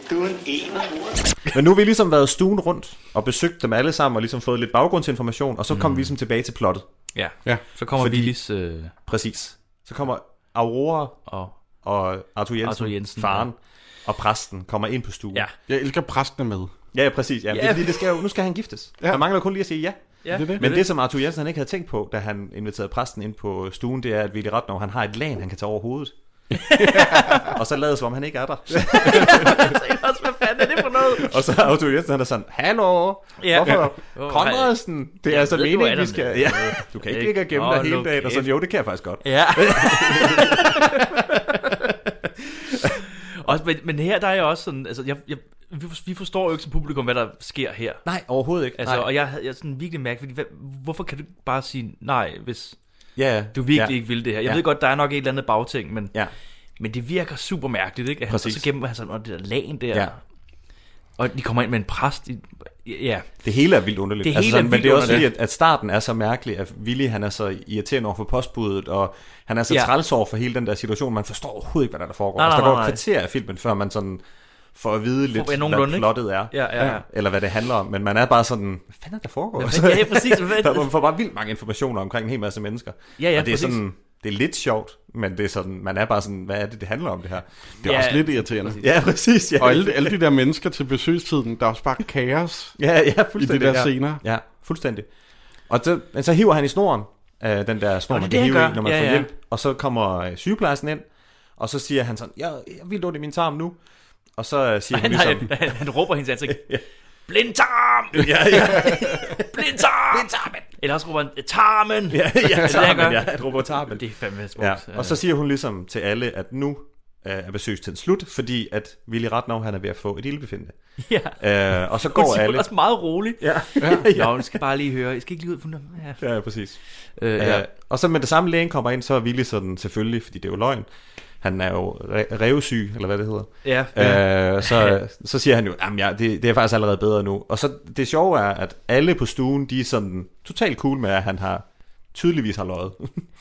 Speaker 6: du er en e- ener.
Speaker 2: Men nu har vi ligesom været stuen rundt og besøgt dem alle sammen og ligesom fået lidt baggrundsinformation, og så kom mm. vi ligesom tilbage til plottet.
Speaker 3: Ja.
Speaker 4: Ja.
Speaker 3: Så kommer
Speaker 2: Fordi-
Speaker 3: Fordi... Willis øh,
Speaker 2: Præcis. Så kommer Aurora
Speaker 3: og...
Speaker 2: og Arthur Jensen,
Speaker 3: Arthur Jensen,
Speaker 2: faren og præsten, kommer ind på stuen.
Speaker 3: Ja.
Speaker 4: Jeg elsker præsten er med.
Speaker 2: ja, ja præcis. Ja, yeah. det,
Speaker 3: Ja.
Speaker 2: er fordi, det skal jo, nu skal han giftes. Ja.
Speaker 4: Ja.
Speaker 2: Han mangler kun lige at sige ja.
Speaker 3: ja.
Speaker 4: Det er det.
Speaker 2: Men det, som Arthur Jensen han ikke havde tænkt på, da han inviterede præsten ind på stuen, det er, at Willy Ratnov, han har et lag, han kan tage over hovedet. og så lader som om han ikke er der.
Speaker 3: også, hvad fanden er det for noget?
Speaker 2: Og så er Arthur Jensen, han er sådan, Hallo,
Speaker 3: Ja.
Speaker 2: hvorfor?
Speaker 3: Ja.
Speaker 2: Konradsen, det er
Speaker 3: Jeg
Speaker 2: altså
Speaker 3: ved, du er
Speaker 2: meningen,
Speaker 3: der
Speaker 2: vi skal...
Speaker 3: med."
Speaker 2: Ja. Du kan ikke ligge og gemme
Speaker 3: Nå,
Speaker 2: dig hele
Speaker 3: nu
Speaker 2: dagen, og sådan,
Speaker 3: kæft.
Speaker 2: jo, det kan jeg faktisk godt.
Speaker 3: Ja. også, men, men her der er jeg også sådan, altså jeg, jeg, vi for- vi forstår jo ikke som publikum, hvad der sker her.
Speaker 2: Nej, overhovedet ikke.
Speaker 3: Altså,
Speaker 2: Nej.
Speaker 3: og jeg havde jeg sådan virkelig mærke, fordi hvad, hvorfor kan du ikke bare sige nej, hvis
Speaker 2: ja, ja.
Speaker 3: du virkelig
Speaker 2: ja.
Speaker 3: ja. ikke vil det her? Jeg
Speaker 2: Ja.
Speaker 3: ja. ved godt, der er nok et eller andet bagting, men,
Speaker 2: Ja.
Speaker 3: men det virker super mærkeligt, ikke? At han-
Speaker 2: Præcis.
Speaker 3: Og så gemmer han sådan under det der lagen der,
Speaker 2: Ja.
Speaker 3: og de kommer ind med en præst. I, ja,
Speaker 2: Det hele er vildt underligt. Altså
Speaker 3: Det hele
Speaker 2: sådan,
Speaker 3: er
Speaker 2: men
Speaker 3: vildt
Speaker 2: det er også fordi,
Speaker 3: underligt.
Speaker 2: at, at starten er så mærkelig, at Willy han er så irriterende over for postbuddet, og han er så ja.
Speaker 3: Ja.
Speaker 2: træls over for hele den der situation. Man forstår overhovedet ikke, hvad der, er, der foregår.
Speaker 3: Nej,
Speaker 2: altså, der
Speaker 3: nej,
Speaker 2: går
Speaker 3: nej,
Speaker 2: et
Speaker 3: nej.
Speaker 2: kvarter af filmen, før man sådan får at vide lidt,
Speaker 3: hvad
Speaker 2: hvad
Speaker 3: nogenlunde, ikke?
Speaker 2: plottet er.
Speaker 3: Ja, ja, ja.
Speaker 2: Eller hvad det handler om. Men man er bare sådan, hvad fanden er der foregår?
Speaker 3: Hvad fanden- ja, præcis. Hvad-
Speaker 2: Der- man får bare vildt mange informationer omkring en hel masse mennesker.
Speaker 3: Ja, ja,
Speaker 2: og det er
Speaker 3: præcis.
Speaker 2: sådan, det er lidt sjovt, men det er sådan, man er bare sådan, hvad er det, det handler om det her?
Speaker 4: Det er
Speaker 3: Ja.
Speaker 4: også lidt irriterende.
Speaker 2: Ja, præcis. Ja.
Speaker 4: Og alle, alle de der mennesker til besøgstiden, der er også bare kaos.
Speaker 2: Ja, ja, fuldstændig.
Speaker 4: I de der
Speaker 2: ja.
Speaker 4: scener.
Speaker 2: Ja, fuldstændig. Og så, men så hiver han i snoren, øh, den der snor,
Speaker 3: Nå, det
Speaker 2: man
Speaker 3: er det,
Speaker 2: kan
Speaker 3: han
Speaker 2: hive i,
Speaker 3: gør.
Speaker 2: når man ja,
Speaker 3: Ja,
Speaker 2: får
Speaker 3: ja.
Speaker 2: hjælp. Og så kommer øh, sygeplejersken ind, og så siger han sådan, jeg, jeg vil ondt i min tarm nu. Og så øh, siger
Speaker 3: han,
Speaker 2: han
Speaker 3: har,
Speaker 2: ligesom...
Speaker 3: han, han, han råber hendes ansigt. Blindtarm!
Speaker 2: Ja, ja,
Speaker 3: Blindtarm! Blindtarmen! Eller også råber han, tarmen!
Speaker 2: ja, ja,
Speaker 3: det, han
Speaker 2: tarmen,
Speaker 3: gør?
Speaker 2: ja, han råber tarmen.
Speaker 3: Det er fandme smukt.
Speaker 2: Ja. Og så siger hun ligesom til alle, at nu øh, er besøgstiden slut, fordi at Willy Ratnov, han er ved at få et ildbefindende.
Speaker 3: ja.
Speaker 2: Øh, og så
Speaker 3: Hun
Speaker 2: går
Speaker 3: siger
Speaker 2: alle...
Speaker 3: også meget roligt.
Speaker 2: Ja,
Speaker 3: Ja. Nå, nu skal jeg bare lige høre. Jeg skal ikke lige ud for noget. Ja.
Speaker 2: ja, ja, præcis.
Speaker 3: Øh,
Speaker 2: Ja.
Speaker 3: ja.
Speaker 2: Øh, og så med det samme lægen kommer ind, så er Willy sådan selvfølgelig, fordi det er jo løgn. Han er jo re- revsyg, eller hvad det hedder.
Speaker 3: Ja.
Speaker 2: Øh, så, så siger han jo, at ja, det, det er faktisk allerede bedre nu. Og så det sjove er, at alle på stuen, de er sådan totalt cool med, at han har tydeligvis har løjet.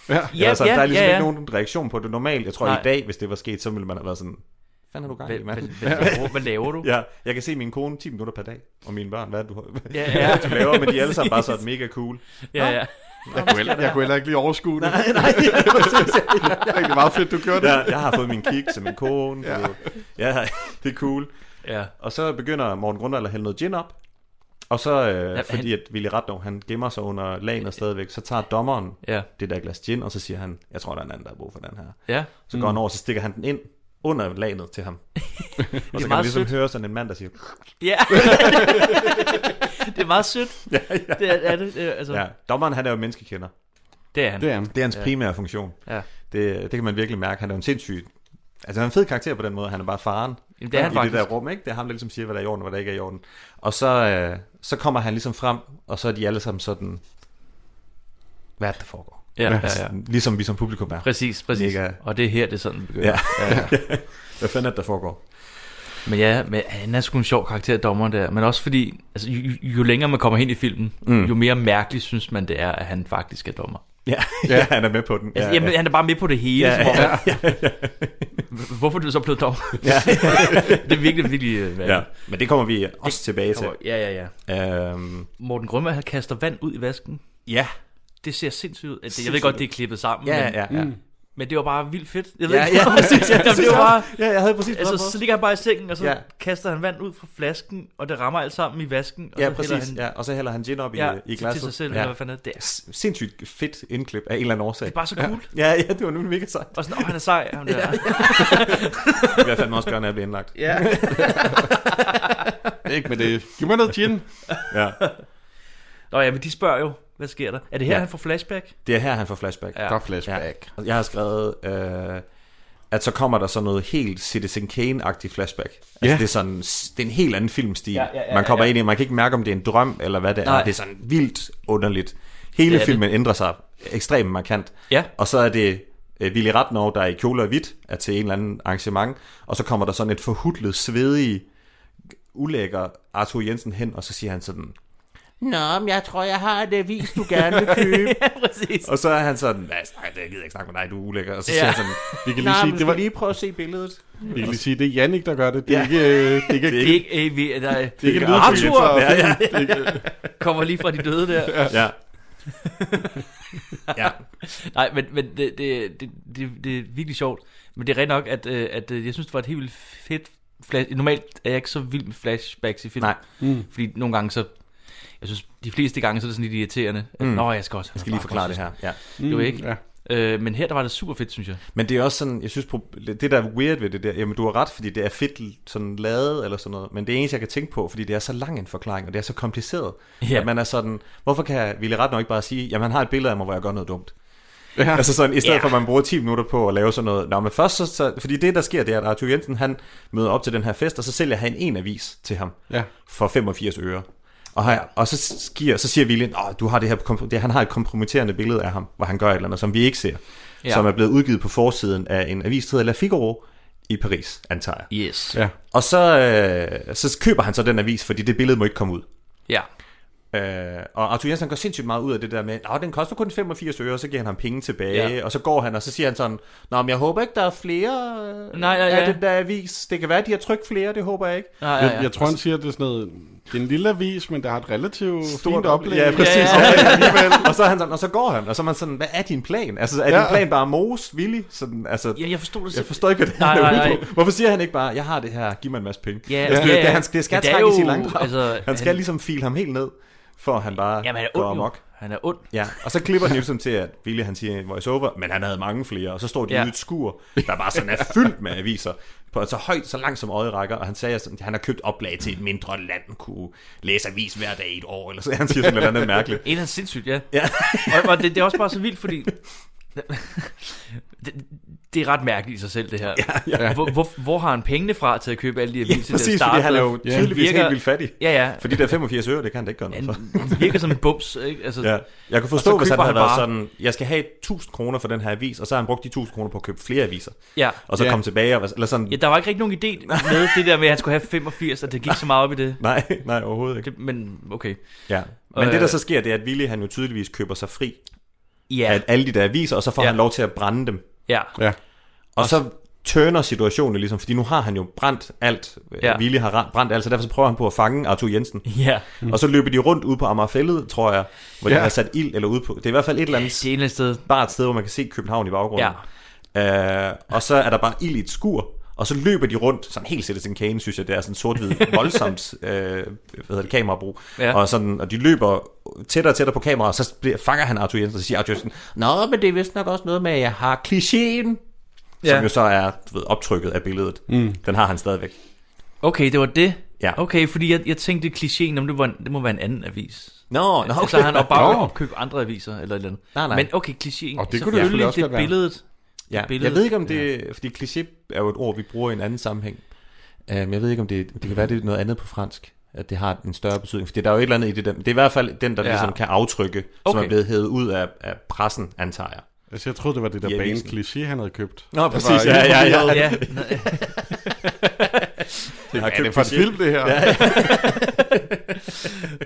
Speaker 3: Ja,
Speaker 2: altså,
Speaker 3: ja,
Speaker 2: der er ligesom
Speaker 3: ja, ja.
Speaker 2: ikke nogen reaktion på det. Normalt, jeg tror
Speaker 3: Nej.
Speaker 2: i dag, hvis det var sket, så ville man have været sådan, "Hvad fanden er du gang i,
Speaker 3: Hvad, hvad,
Speaker 2: mand?
Speaker 3: hvad, laver- hvad laver du?
Speaker 2: Ja, jeg kan se min kone 10 minutter per dag, og mine børn, hvad er det, du,
Speaker 3: Ja,
Speaker 2: ja,
Speaker 3: ja.
Speaker 2: ja. du laver, men de er alle sammen bare sådan mega cool.
Speaker 3: ja, ja.
Speaker 4: Jeg kunne heller, jeg kunne heller ikke lige overskue det. Nej, nej. det er rigtig meget fedt, du gjorde det.
Speaker 2: Ja, jeg har fået min kick som min kone. Ja. ja, det er cool.
Speaker 3: ja.
Speaker 2: Og så begynder Morten Grundvald at hælde noget gin op. Og så, øh, ja, fordi han... at Willy Ratnov, han gemmer sig under lagene stadigvæk, så tager dommeren ja. det der glas gin, og så siger han, jeg tror, der er en anden, der har brug for den her.
Speaker 3: Ja.
Speaker 2: Så går mm. han over, så stikker han den ind under lagnet til ham. og så kan man ligesom sødt. høre sådan en mand, der siger...
Speaker 3: Ja. det er meget sødt. Ja, ja. Det er, er det, det er, altså... ja.
Speaker 2: Dommeren, han er jo menneskekender.
Speaker 3: Det er han.
Speaker 2: Det er, han. Det er hans ja. primære funktion. Ja. Det, det kan man virkelig mærke. Han er jo en sindssyg Altså han er en fed karakter på den måde, han er bare faren.
Speaker 3: Jamen, det er han
Speaker 2: I
Speaker 3: faktisk.
Speaker 2: det der rum, ikke? Det er ham, der ligesom siger, hvad der er i orden, og hvad der ikke er i orden. Og så, øh, så kommer han ligesom frem, og så er de alle sammen sådan, hvad er det, der foregår?
Speaker 3: Ja, ja, ja.
Speaker 2: Ligesom vi som publikum er.
Speaker 3: Præcis, præcis. Ligger... Og det er her, det er sådan, det begynder.
Speaker 2: Ja. ja, ja. hvad fanden er det, der foregår?
Speaker 3: Men ja, men han er sgu en sjov karakter, dommer der. Men også fordi, altså, jo, jo længere man kommer hen i filmen, mm. jo mere mærkeligt synes man, det er, at han faktisk er dommer.
Speaker 2: Ja, ja, han er med på den. Ja,
Speaker 3: altså, jamen,
Speaker 2: ja.
Speaker 3: han er bare med på det hele. Ja, ja, ja, ja. Hvorfor er du så blevet dog? ja. det er virkelig, virkelig
Speaker 2: ja. Men det kommer vi også det tilbage kommer,
Speaker 3: til. Ja, ja, ja. Øhm. Morten Grønberg, han kaster vand ud i vasken.
Speaker 2: Ja.
Speaker 3: Det ser sindssygt ud. Altså, jeg ved godt, det er klippet sammen.
Speaker 2: Ja, men, ja, ja. Mm.
Speaker 3: Men det var bare vildt fedt.
Speaker 2: Jeg ved ja, ikke, ja, præcis. Ja, ja, det var bare, ja, jeg havde præcis
Speaker 3: altså, så ligger han bare i sengen, og så ja. kaster han vand ud fra flasken, og det rammer alt sammen i vasken. Og
Speaker 2: ja, præcis. Han, ja, og så hælder han gin op ja, i, i glasset.
Speaker 3: til sig selv, ja. eller hvad fanden det er.
Speaker 2: Sindssygt fedt indklip af en eller anden årsag.
Speaker 3: Det er bare så cool.
Speaker 2: Ja, ja, ja det var nu mega sejt.
Speaker 3: Og sådan, åh, han er sej. Han der. Ja, ja.
Speaker 2: det vil jeg fandme også gøre, når jeg bliver indlagt.
Speaker 3: Ja.
Speaker 4: ikke med det. øh, Giv mig noget gin.
Speaker 2: ja.
Speaker 3: Nå ja, men de spørger jo, hvad sker der? Er det her, ja. han får flashback?
Speaker 2: Det er her, han får flashback.
Speaker 4: Ja. Godt flashback.
Speaker 2: Ja. Jeg har skrevet, øh, at så kommer der sådan noget helt Citizen Kane-agtigt flashback. Altså, ja. det, er sådan, det er en helt anden filmstil. Ja, ja, ja, man kommer ja, ja. ind i, man kan ikke mærke, om det er en drøm, eller hvad det er. Nej. Det er sådan vildt underligt. Hele ja, filmen det. ændrer sig ekstremt markant.
Speaker 3: Ja.
Speaker 2: Og så er det øh, Willy Ratnov, der er i kjole og hvidt, er til en eller anden arrangement, og så kommer der sådan et forhudlet, svedig, ulækker Arthur Jensen hen, og så siger han sådan, Nå, men jeg tror, jeg har en avis, du gerne vil købe.
Speaker 3: ja, præcis.
Speaker 2: Og så er han sådan, nej, det gider jeg ikke snakke med dig, du er ulækker. Og så siger ja. siger han sådan, vi kan lige, sige,
Speaker 4: det var...
Speaker 2: lige prøve at se billedet.
Speaker 4: Vi kan lige sige, det er Jannik, der gør det. Det er ja. ikke... øh, Det er ikke, det er ikke,
Speaker 3: det er ikke, øh, nej. Det,
Speaker 4: det er ikke
Speaker 3: Arthur. Fra, ja, ja. Det er ikke, Kommer lige fra de døde der.
Speaker 2: Ja. ja.
Speaker 3: ja. Nej, men, men det, det, det, det, det er virkelig sjovt. Men det er rent nok, at, øh, at jeg synes, det var et helt vildt fedt flash. Normalt er jeg ikke så vild med flashbacks i film.
Speaker 2: Nej.
Speaker 3: Mm. Fordi nogle gange så jeg synes, de fleste gange, så er det sådan lidt irriterende. At, mm. Nå, jeg skal også.
Speaker 2: Jeg skal lige forklare det her. Ja.
Speaker 3: Mm, det var ikke. Ja. Øh, men her, der var det super fedt, synes jeg.
Speaker 2: Men det er også sådan, jeg synes, det der er weird ved det der, jamen du har ret, fordi det er fedt sådan lavet eller sådan noget, men det er eneste, jeg kan tænke på, fordi det er så lang en forklaring, og det er så kompliceret, ja. at man er sådan, hvorfor kan Ville ret nok ikke bare sige, jamen han har et billede af mig, hvor jeg gør noget dumt. Ja. Altså sådan, i stedet ja. for at man bruger 10 minutter på at lave sådan noget. Nå, men først så, så fordi det der sker, det er, at Arthur Jensen, han møder op til den her fest, og så sælger han en avis til ham
Speaker 4: ja.
Speaker 2: for 85 øre. Og, her, og så, giver, så siger William, at du har det her, det, han har et kompromitterende billede af ham, hvor han gør et eller andet, som vi ikke ser. Ja. Som er blevet udgivet på forsiden af en avis, der hedder La Figaro i Paris, antager
Speaker 3: jeg. Yes.
Speaker 2: Ja. Og så, øh, så køber han så den avis, fordi det billede må ikke komme ud.
Speaker 3: Ja.
Speaker 2: Øh, og Arthur Jensen går sindssygt meget ud af det der med, at den koster kun 85 øre, og så giver han ham penge tilbage, ja. og så går han, og så siger han sådan, Nå, men jeg håber ikke, der er flere øh,
Speaker 3: Nej, ja, ja.
Speaker 2: af den der avis. Det kan være, at de har trykt flere, det håber jeg ikke.
Speaker 4: Nej, ja, ja. Jeg, jeg tror, han siger, at det er sådan noget, det er en lille avis, men der har et relativt Stort fint oplæg. Altså,
Speaker 2: Ja, præcis. Ja, ja. ja. og, så han sådan, og så går han, og så er man sådan, hvad er din plan? Altså, er ja. din plan bare mos, villig? Sådan, altså,
Speaker 3: ja, jeg forstod det
Speaker 2: Jeg forstår ikke, hvad det nej, er nej, nej. Hvorfor siger han ikke bare, jeg har det her, giv mig en masse penge? Ja, altså, det, ja, ja. Det, han, det skal det trækkes jo, i langdrag. Altså, han skal han, ligesom file ham helt ned, for han bare
Speaker 3: jamen, han
Speaker 2: går amok.
Speaker 3: Han er ond.
Speaker 2: Ja, og så klipper han jo som til, at Ville han siger en voice over, men han havde mange flere, og så står de ja. ude et skur, der bare sådan er fyldt med aviser, på så højt, så langt som øjet rækker, og han sagde, at han har købt oplag til et mindre land, kunne læse avis hver dag i et år, eller så han siger sådan noget andet mærkeligt.
Speaker 3: En er sindssygt, ja.
Speaker 2: ja.
Speaker 3: og, og det, det, er også bare så vildt, fordi det, det er ret mærkeligt i sig selv, det her.
Speaker 2: Ja, ja.
Speaker 3: Hvor, hvor, hvor har han pengene fra til at købe alle de aviser? Ja,
Speaker 2: præcis, der fordi han er jo ja. tydeligvis virker, helt vildt fattig.
Speaker 3: Ja, ja.
Speaker 2: Fordi der er 85 øre, det kan han da ikke gøre noget for.
Speaker 3: Han virker som en bums. Ikke? Altså, ja.
Speaker 2: Jeg kan forstå, hvis han, han havde bare... været sådan, jeg skal have 1000 kroner for den her avis, og så har han brugt de 1000 kroner på at købe flere aviser.
Speaker 3: Ja.
Speaker 2: Og så
Speaker 3: ja.
Speaker 2: kom tilbage. Og, eller sådan.
Speaker 3: Ja, der var ikke rigtig nogen idé med det der med, at han skulle have 85, og det gik så meget op i det.
Speaker 2: Nej, nej overhovedet ikke.
Speaker 3: Det, men okay.
Speaker 2: Ja. Men og, det der så sker, det er, at Willy han jo tydeligvis køber sig fri yeah. af alle de der aviser, og så får yeah. han lov til at brænde dem.
Speaker 3: Yeah.
Speaker 4: Ja.
Speaker 2: Og så tørner situationen ligesom, fordi nu har han jo brændt alt. Yeah. Willy har brændt alt, så derfor så prøver han på at fange Arthur Jensen.
Speaker 3: Yeah.
Speaker 2: Mm. Og så løber de rundt ude på Amagerfællet, tror jeg, hvor yeah. de har sat ild eller ude på. Det er i hvert fald et eller andet,
Speaker 3: det er et eller andet sted.
Speaker 2: bare et sted, hvor man kan se København i baggrunden. Yeah. Øh, og så er der bare ild i et skur, Og så løber de rundt, sådan helt sættet sin kane, synes jeg, det er sådan sort-hvid, voldsomt øh, hvad hedder det, kamerabrug. Ja. Og, sådan, og de løber tættere og tættere på kameraet, og så bliver, fanger han Arthur Jensen, og så siger Arthur Jensen, Nå, men det er vist nok også noget med, at jeg har klichéen, ja. som jo så er du ved, optrykket af billedet. Mm. Den har han stadigvæk.
Speaker 3: Okay, det var det.
Speaker 2: Ja.
Speaker 3: Okay, fordi jeg, jeg tænkte klichéen, om det, var, en, det må være en anden avis.
Speaker 2: Nå, no, no, okay.
Speaker 3: Så Altså, han og bare no. købe andre aviser eller et eller andet.
Speaker 2: Nej, nej.
Speaker 3: Men okay, klichéen.
Speaker 4: Og det kunne det selvfølgelig også
Speaker 3: det billedet.
Speaker 2: Ja. Det billedet. Jeg ved ikke, om det... Ja. Fordi kliché er jo et ord, vi bruger i en anden sammenhæng. Um, jeg ved ikke, om det... Det kan være, det er noget andet på fransk at det har en større betydning. Fordi der er jo et eller andet i det der. Det er i hvert fald den, der ja. ligesom kan aftrykke, okay. som er blevet hævet ud af, af pressen, antager jeg.
Speaker 4: Altså, jeg troede, det var det der ja, bane kliché, han havde købt.
Speaker 2: Nå, præcis. Ja, ja, ja. ja. ja.
Speaker 4: Det er, er det for en film, det her? Ja.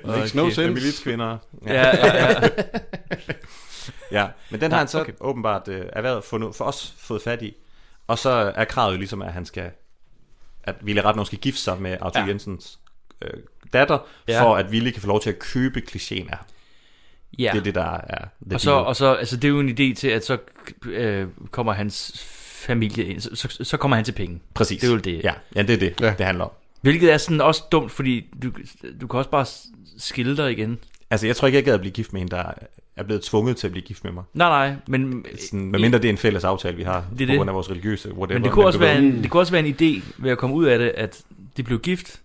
Speaker 4: Makes no sense.
Speaker 2: Militskvinder.
Speaker 3: Ja, ja, ja.
Speaker 2: ja, men den har han så okay. åbenbart øh, erhvervet fundet, for os fået fat i. Og så er kravet jo ligesom, at han skal, at Ville Ratnov skal gifte sig med Arthur ja. Jensens øh, datter, ja. for at Ville kan få lov til at købe klichéen af ham.
Speaker 3: Ja.
Speaker 2: Det er det, der er...
Speaker 3: Og så, og så, altså det er jo en idé til, at så øh, kommer hans familie ind, så, så, så kommer han til penge.
Speaker 2: Præcis.
Speaker 3: Det er jo det.
Speaker 2: Ja, ja det er det, ja. det handler om.
Speaker 3: Hvilket er sådan også dumt, fordi du, du kan også bare skille dig igen.
Speaker 2: Altså, jeg tror ikke, jeg gad at blive gift med hende, der er blevet tvunget til at blive gift med mig.
Speaker 3: Nej, nej, men...
Speaker 2: Sådan, med mindre det er en fælles aftale, vi har, det på grund af vores religiøse, whatever.
Speaker 3: Men det kunne, også være en, det kunne også være en idé ved at komme ud af det, at de blev gift,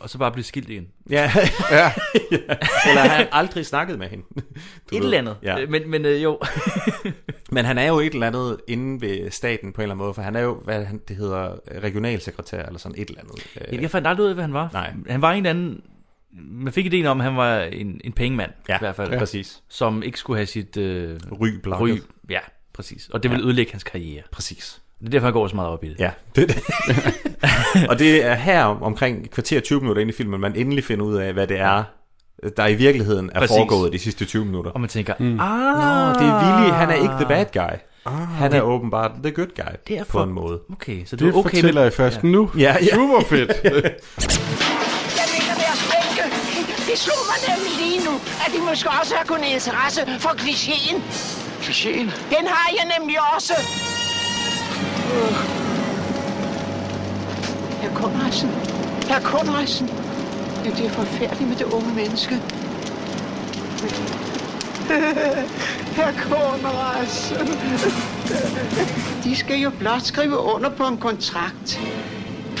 Speaker 3: og så bare blive skilt igen.
Speaker 2: Ja. ja. Eller han aldrig snakket med hende. Du
Speaker 3: et ved. eller andet. Ja. Men, men øh, jo.
Speaker 2: men han er jo et eller andet inde ved staten på en eller anden måde, for han er jo, hvad han, det hedder, regionalsekretær eller sådan et eller andet.
Speaker 3: Jeg, jeg fandt aldrig ud af, hvad han var.
Speaker 2: Nej.
Speaker 3: Han var en eller anden... Man fik ideen om, at han var en, en pengemand,
Speaker 2: ja,
Speaker 3: i hvert fald.
Speaker 2: Ja. præcis.
Speaker 3: Som ikke skulle have sit... Øh,
Speaker 2: ry blanket. Ry,
Speaker 3: ja, præcis. Og det ville ja. ødelægge hans karriere.
Speaker 2: Præcis.
Speaker 3: Det er derfor, jeg går så meget op i det.
Speaker 2: Ja, det er det. og det er her om, omkring kvarter 20 minutter ind i filmen, man endelig finder ud af, hvad det er, der i virkeligheden er Præcis. foregået de sidste 20 minutter.
Speaker 3: Og man tænker, mm. ah,
Speaker 2: Nå, det er Willy, han er ikke the bad guy. Ah, han er det, åbenbart the good guy, det er for, på en måde.
Speaker 3: Okay, så
Speaker 4: det, det
Speaker 3: er okay
Speaker 4: fortæller med, jeg først ja. nu.
Speaker 2: Ja, ja.
Speaker 4: Super fedt. ja.
Speaker 9: Jeg ligger deres bænke. Det slog mig nemlig lige nu, at de måske også har kunnet interesse for klichéen.
Speaker 7: Klichéen?
Speaker 9: Den har jeg nemlig også. Herr Konradsen. Herr Konradsen. Ja, det er forfærdeligt med det unge menneske. Herr Konradsen. De skal jo blot skrive under på en kontrakt.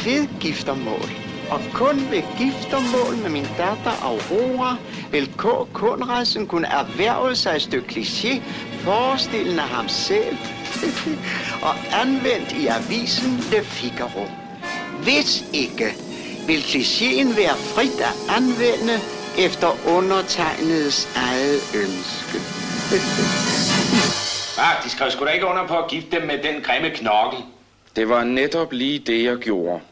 Speaker 9: Ved giftermål. Og kun ved giftermål med min datter Aurora vil K. Konradsen kunne erhverve sig et stykke kliché, forestillende ham selv, og anvendt i avisen Le Figaro. Hvis ikke, vil klichéen være frit at anvende efter undertegnedes eget ønske.
Speaker 10: ah, de skrev sgu da ikke under på at gifte dem med den grimme knokkel.
Speaker 5: Det var netop lige det, jeg gjorde.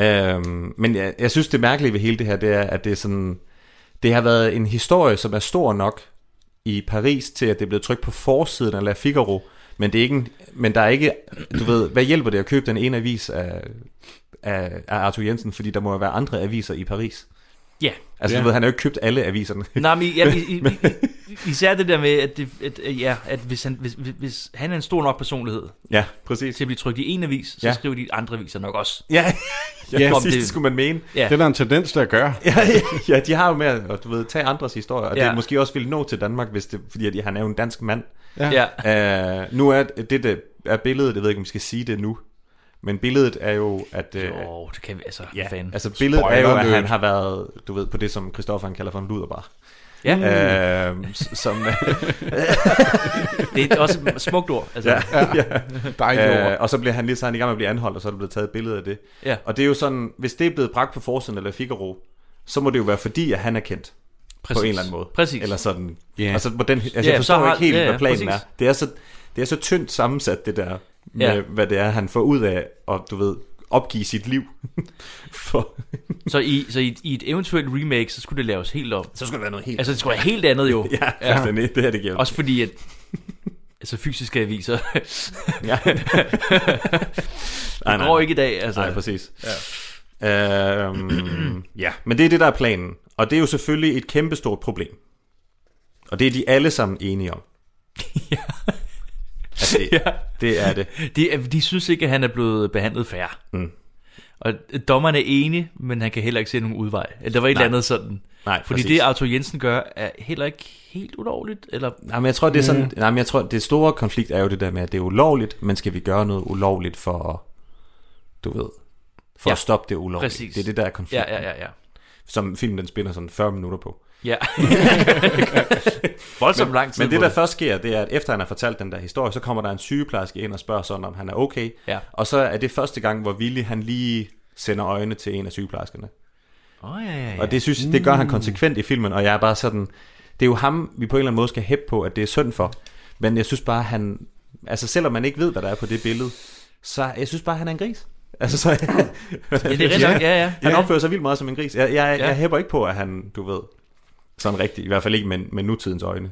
Speaker 2: Øhm, men jeg, jeg synes, det mærkelige ved hele det her, det er, at det er sådan... Det har været en historie, som er stor nok i Paris til, at det er blevet trykt på forsiden af La Figaro, men, det er ikke en, men der er ikke, du ved, hvad hjælper det at købe den ene avis af, af, af Arthur Jensen, fordi der må jo være andre aviser i Paris.
Speaker 3: Ja. Yeah.
Speaker 2: Altså, yeah. du ved, han har jo ikke købt alle aviserne.
Speaker 3: Nej, men ja, i, i, i, især det der med, at, det, at, ja, at hvis, han, hvis, hvis han er en stor nok personlighed,
Speaker 2: ja, præcis.
Speaker 3: til at blive trykt i en avis, så ja. skriver de andre aviser nok også.
Speaker 2: Ja, ja, ja præcis, det, det skulle man mene.
Speaker 4: Ja. Det er der en tendens til at gøre.
Speaker 2: ja, ja, ja, de har jo med at du ved, tage andres historier, og ja. det måske også ville nå til Danmark, hvis det, fordi at han er jo en dansk mand.
Speaker 3: Ja.
Speaker 2: ja. Uh, nu er det, det er billedet, jeg ved ikke, om vi skal sige det nu, men billedet er jo, at... Øh,
Speaker 3: jo, det kan vi, altså, ja, fan.
Speaker 2: altså billedet Spoiler er jo, at han har været, du ved, på det, som Christoffer han kalder for en luderbar.
Speaker 3: Ja.
Speaker 2: Øh,
Speaker 3: Hmm.
Speaker 2: som,
Speaker 3: det er også et smukt ord. Altså.
Speaker 2: Ja, ja.
Speaker 4: Dejligt ord.
Speaker 2: Øh, og så bliver han lige så han i gang med at blive anholdt, og så er der blevet taget et billede af det.
Speaker 3: Ja.
Speaker 2: Og det er jo sådan, hvis det er blevet bragt på forsiden eller Figaro, så må det jo være fordi, at han er kendt. Præcis. På en eller anden måde.
Speaker 3: Præcis.
Speaker 2: Eller sådan. Yeah. Altså, på den, altså yeah, jeg forstår har, ikke helt, yeah, hvad planen præcis. er. Det er, så, det er så tyndt sammensat, det der med, ja. hvad det er, han får ud af at, du ved, opgive sit liv.
Speaker 3: For så i, så i, i et eventuelt remake, så skulle det laves helt om.
Speaker 2: Så skulle det være noget helt
Speaker 3: Altså, det skulle være helt andet jo.
Speaker 2: ja, ja. Det, det her, det giver.
Speaker 3: Også fordi, at altså fysiske aviser. ja. det går ikke i dag, altså.
Speaker 2: Nej, præcis. Ja. Øhm, ja, men det er det, der er planen. Og det er jo selvfølgelig et kæmpestort problem. Og det er de alle sammen enige om.
Speaker 3: ja
Speaker 2: Altså, det, ja. det er det.
Speaker 3: De, de synes ikke, at han er blevet behandlet fair. Mm. Og dommeren er enig, men han kan heller ikke se nogen udvej. Eller der var et eller andet sådan.
Speaker 2: Nej,
Speaker 3: Fordi
Speaker 2: præcis.
Speaker 3: det, Arthur Jensen gør, er heller ikke helt ulovligt. Eller...
Speaker 2: Nej, men jeg tror, det er sådan, nej, men jeg tror, det store konflikt er jo det der med, at det er ulovligt, men skal vi gøre noget ulovligt for, du ved, for
Speaker 3: Ja,
Speaker 2: ja, at stoppe det ulovligt.
Speaker 3: præcis.
Speaker 2: Det er det, der er konflikten.
Speaker 3: Ja, ja, ja, ja.
Speaker 2: Som filmen, den spænder sådan 40 minutter på.
Speaker 3: Ja. Voldsomt
Speaker 2: men,
Speaker 3: lang tid
Speaker 2: Men det,
Speaker 3: på
Speaker 2: der
Speaker 3: det.
Speaker 2: først sker, det er, at efter han har fortalt den der historie, så kommer der en sygeplejerske ind og spørger sådan, om han er okay.
Speaker 3: Ja.
Speaker 2: Og så er det første gang, hvor Willy, han lige sender øjne til en af sygeplejerskerne.
Speaker 3: Oh, ja, ja, ja.
Speaker 2: Og det synes det gør han
Speaker 3: Mm.
Speaker 2: konsekvent i filmen, og jeg er bare sådan, det er jo ham, vi på en eller anden måde skal hæppe på, at det er synd for. Men jeg synes bare, han, altså selvom man ikke ved, hvad der er på det billede, så jeg synes bare, han er en gris. Altså, så, ja,
Speaker 3: det er rigtigt nok, ja, ja.
Speaker 2: Han
Speaker 3: Ja.
Speaker 2: opfører sig vildt meget som en gris. Jeg, jeg,
Speaker 3: Ja.
Speaker 2: ja. jeg hæpper ikke på, at han, du ved, sådan rigtigt, i hvert fald ikke med, med nutidens øjne.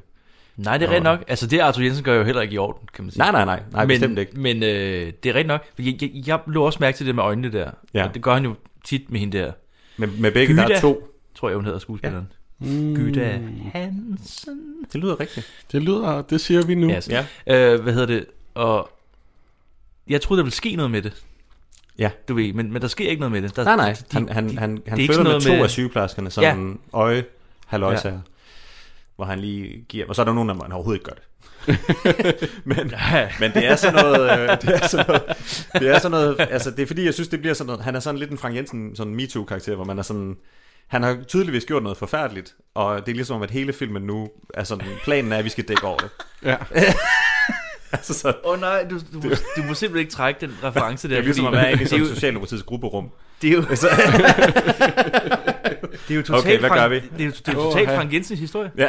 Speaker 3: Nej, det er rigtigt nok. Altså, det Arthur Jensen gør jo heller ikke i orden, kan man sige.
Speaker 2: Nej, nej, nej. Nej,
Speaker 3: men,
Speaker 2: bestemt ikke.
Speaker 3: Men øh, det er rigtigt nok. For Jeg, jeg, jeg lå også mærke til det med øjnene der.
Speaker 2: Ja.
Speaker 3: Og det gør han jo tit med hende der.
Speaker 2: Med, med begge, der er to.
Speaker 3: tror jeg, hun hedder skuespilleren. Ja.
Speaker 4: Mm.
Speaker 3: Gyda Hansen.
Speaker 2: Det lyder rigtigt.
Speaker 4: Det lyder, det siger vi nu.
Speaker 3: Yes. Ja. Øh, hvad hedder det? Og jeg troede, der ville ske noget med det.
Speaker 2: Ja.
Speaker 3: Du ved, men, men der sker ikke noget med det. Der,
Speaker 2: Nej, nej.
Speaker 3: de-
Speaker 2: Han, han,
Speaker 3: de-
Speaker 2: han,
Speaker 3: det er
Speaker 2: han
Speaker 3: ikke
Speaker 2: følger med
Speaker 3: sådan noget
Speaker 2: to af sygeplejerskerne, som
Speaker 3: Ja.
Speaker 2: ja. øje halvøjsager. Ja. Hvor han lige giver... Og så er der nogen, der han overhovedet ikke gør det. men,
Speaker 3: Ja.
Speaker 2: men det er sådan noget... Øh, det er sådan noget... Det er sådan noget... Altså, det er fordi, jeg synes, det bliver sådan noget... Han er sådan lidt en Frank Jensen, sådan en MeToo-karakter, hvor man er sådan... Han har tydeligvis gjort noget forfærdeligt, og det er ligesom, at hele filmen nu... Altså, planen er, at vi skal dække over det.
Speaker 4: Ja.
Speaker 2: altså sådan...
Speaker 3: Åh oh, nej, du, du, må, du må simpelthen ikke trække den reference der.
Speaker 2: Det er ligesom at
Speaker 3: fordi-
Speaker 2: være inde i
Speaker 3: det er
Speaker 2: sådan
Speaker 3: jo-
Speaker 2: Socialdemokratiets grupperum.
Speaker 3: Det er jo,
Speaker 2: Altså-
Speaker 3: det er jo totalt
Speaker 2: Okay, hvad
Speaker 3: Frank,
Speaker 2: gør vi?
Speaker 3: Det er jo, det er jo totalt
Speaker 2: Åh, ja.
Speaker 3: Frank Jensens historie.
Speaker 2: Ja.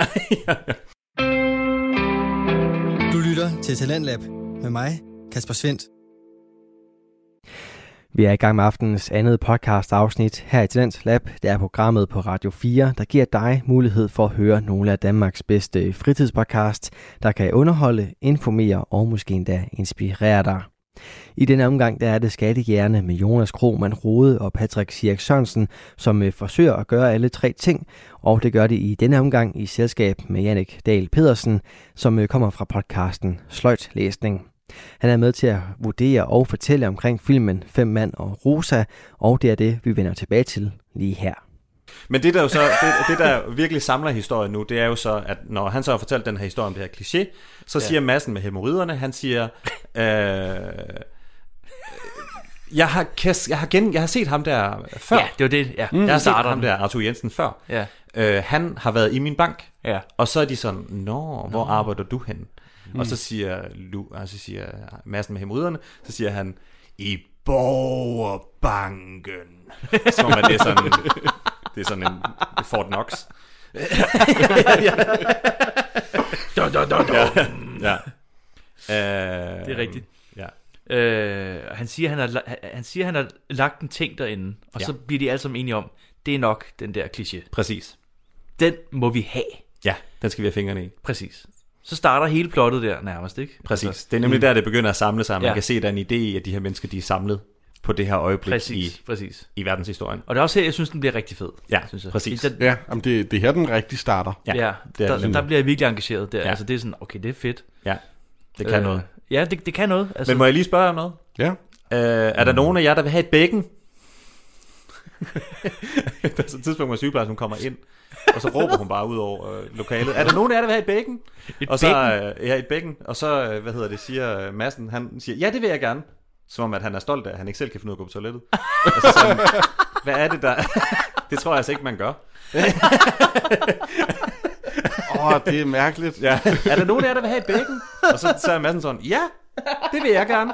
Speaker 1: Du lytter til Talentlab med mig, Kasper Svendt. Vi er i gang med aftenens andet podcast afsnit her i Tendens Lab. Det er programmet på Radio 4, der giver dig mulighed for at høre nogle af Danmarks bedste fritidspodcast, der kan underholde, informere og måske endda inspirere dig. I denne omgang der er det Skattehjerne med Jonas Krohmann Rode og Patrick Sirk Sørensen, som øh, forsøger at gøre alle tre ting, og det gør de i denne omgang i selskab med Jannik Dahl Pedersen, som øh, kommer fra podcasten Sløjtlæsning. Han er med til at vurdere og fortælle omkring filmen Fem Mand og Rosa, og det er det, vi vender tilbage til lige her.
Speaker 2: Men det der, jo så, det, det, der virkelig samler historien nu, det er jo så, at når han så har fortalt den her historie om det her kliché, så
Speaker 3: Ja.
Speaker 2: ja. siger massen med hemorriderne, han siger, øh, jeg, har, kæs- jeg, har gen, jeg har set ham der før.
Speaker 3: Ja, det var det, ja.
Speaker 2: Mm, jeg
Speaker 3: Der
Speaker 2: har set
Speaker 3: starter
Speaker 2: ham
Speaker 3: den.
Speaker 2: der, Arthur Jensen, før.
Speaker 3: Ja.
Speaker 2: Øh, han har været i min bank.
Speaker 3: Ja.
Speaker 2: Og så er de sådan, nå, hvor
Speaker 3: Nå.
Speaker 2: arbejder du hen? Mm.
Speaker 3: Mm.
Speaker 2: Og så siger, Lu, og så siger massen med hemorriderne, så siger han, i borgerbanken. Som om at det er sådan, det er sådan en Fort Knox.
Speaker 3: Da, da, da, da.
Speaker 2: Ja. ja. Øh,
Speaker 3: Det er rigtigt.
Speaker 2: Ja.
Speaker 3: Øh, og han siger, han har, la- han- han siger, han har lagt en ting derinde, og ja.
Speaker 2: Ja.
Speaker 3: så bliver de alle sammen enige om, det er nok den der kliché.
Speaker 2: Præcis.
Speaker 3: Den må vi have.
Speaker 2: Ja, den skal vi have fingrene i.
Speaker 3: Præcis. Så starter hele plottet der nærmest, ikke?
Speaker 2: Præcis.
Speaker 3: Altså,
Speaker 2: det er nemlig der, det begynder at samle sig. Man
Speaker 3: Ja.
Speaker 2: ja. kan se, der er en idé i, at de her mennesker, de er samlet på det her øjeblik
Speaker 3: Præcis,
Speaker 2: i,
Speaker 3: præcis.
Speaker 2: i verdenshistorien.
Speaker 3: Og det er også her, jeg synes, den bliver rigtig fed.
Speaker 2: Ja,
Speaker 3: synes jeg.
Speaker 2: præcis.
Speaker 3: Fordi
Speaker 4: Ja, jamen det, det er her, den rigtig starter.
Speaker 3: Ja, ja
Speaker 4: det er
Speaker 3: der,
Speaker 4: nemlig.
Speaker 3: der bliver jeg virkelig engageret der. Ja.
Speaker 4: Ja.
Speaker 3: Altså, det er sådan, okay, det er fedt. Øh,
Speaker 2: Ja, det kan noget.
Speaker 3: Ja, det, det kan noget. Altså,
Speaker 2: øh, Men må jeg lige spørge om noget?
Speaker 4: Ja.
Speaker 2: Øh, er der nogen af jer, der vil have et bækken? der er så et tidspunkt, hvor sygeplejersken hun kommer ind, og så råber hun bare ud over øh, lokalet. Er der nogen af jer, der vil have et bækken?
Speaker 3: Et
Speaker 2: og så,
Speaker 3: bækken?
Speaker 2: Øh, ja, et bækken. Og så, øh, hvad hedder det, siger øh, Madsen, han siger, ja, det vil jeg gerne. Som om, at han er stolt af, at han ikke selv kan finde ud af at gå på toilettet. altså, sådan, hvad er det der? det tror jeg altså ikke, man gør.
Speaker 4: Åh, oh, det er mærkeligt.
Speaker 2: ja. Er der nogen af jer, der vil have et bækken? Og så, så er Madsen sådan, ja, det vil jeg gerne.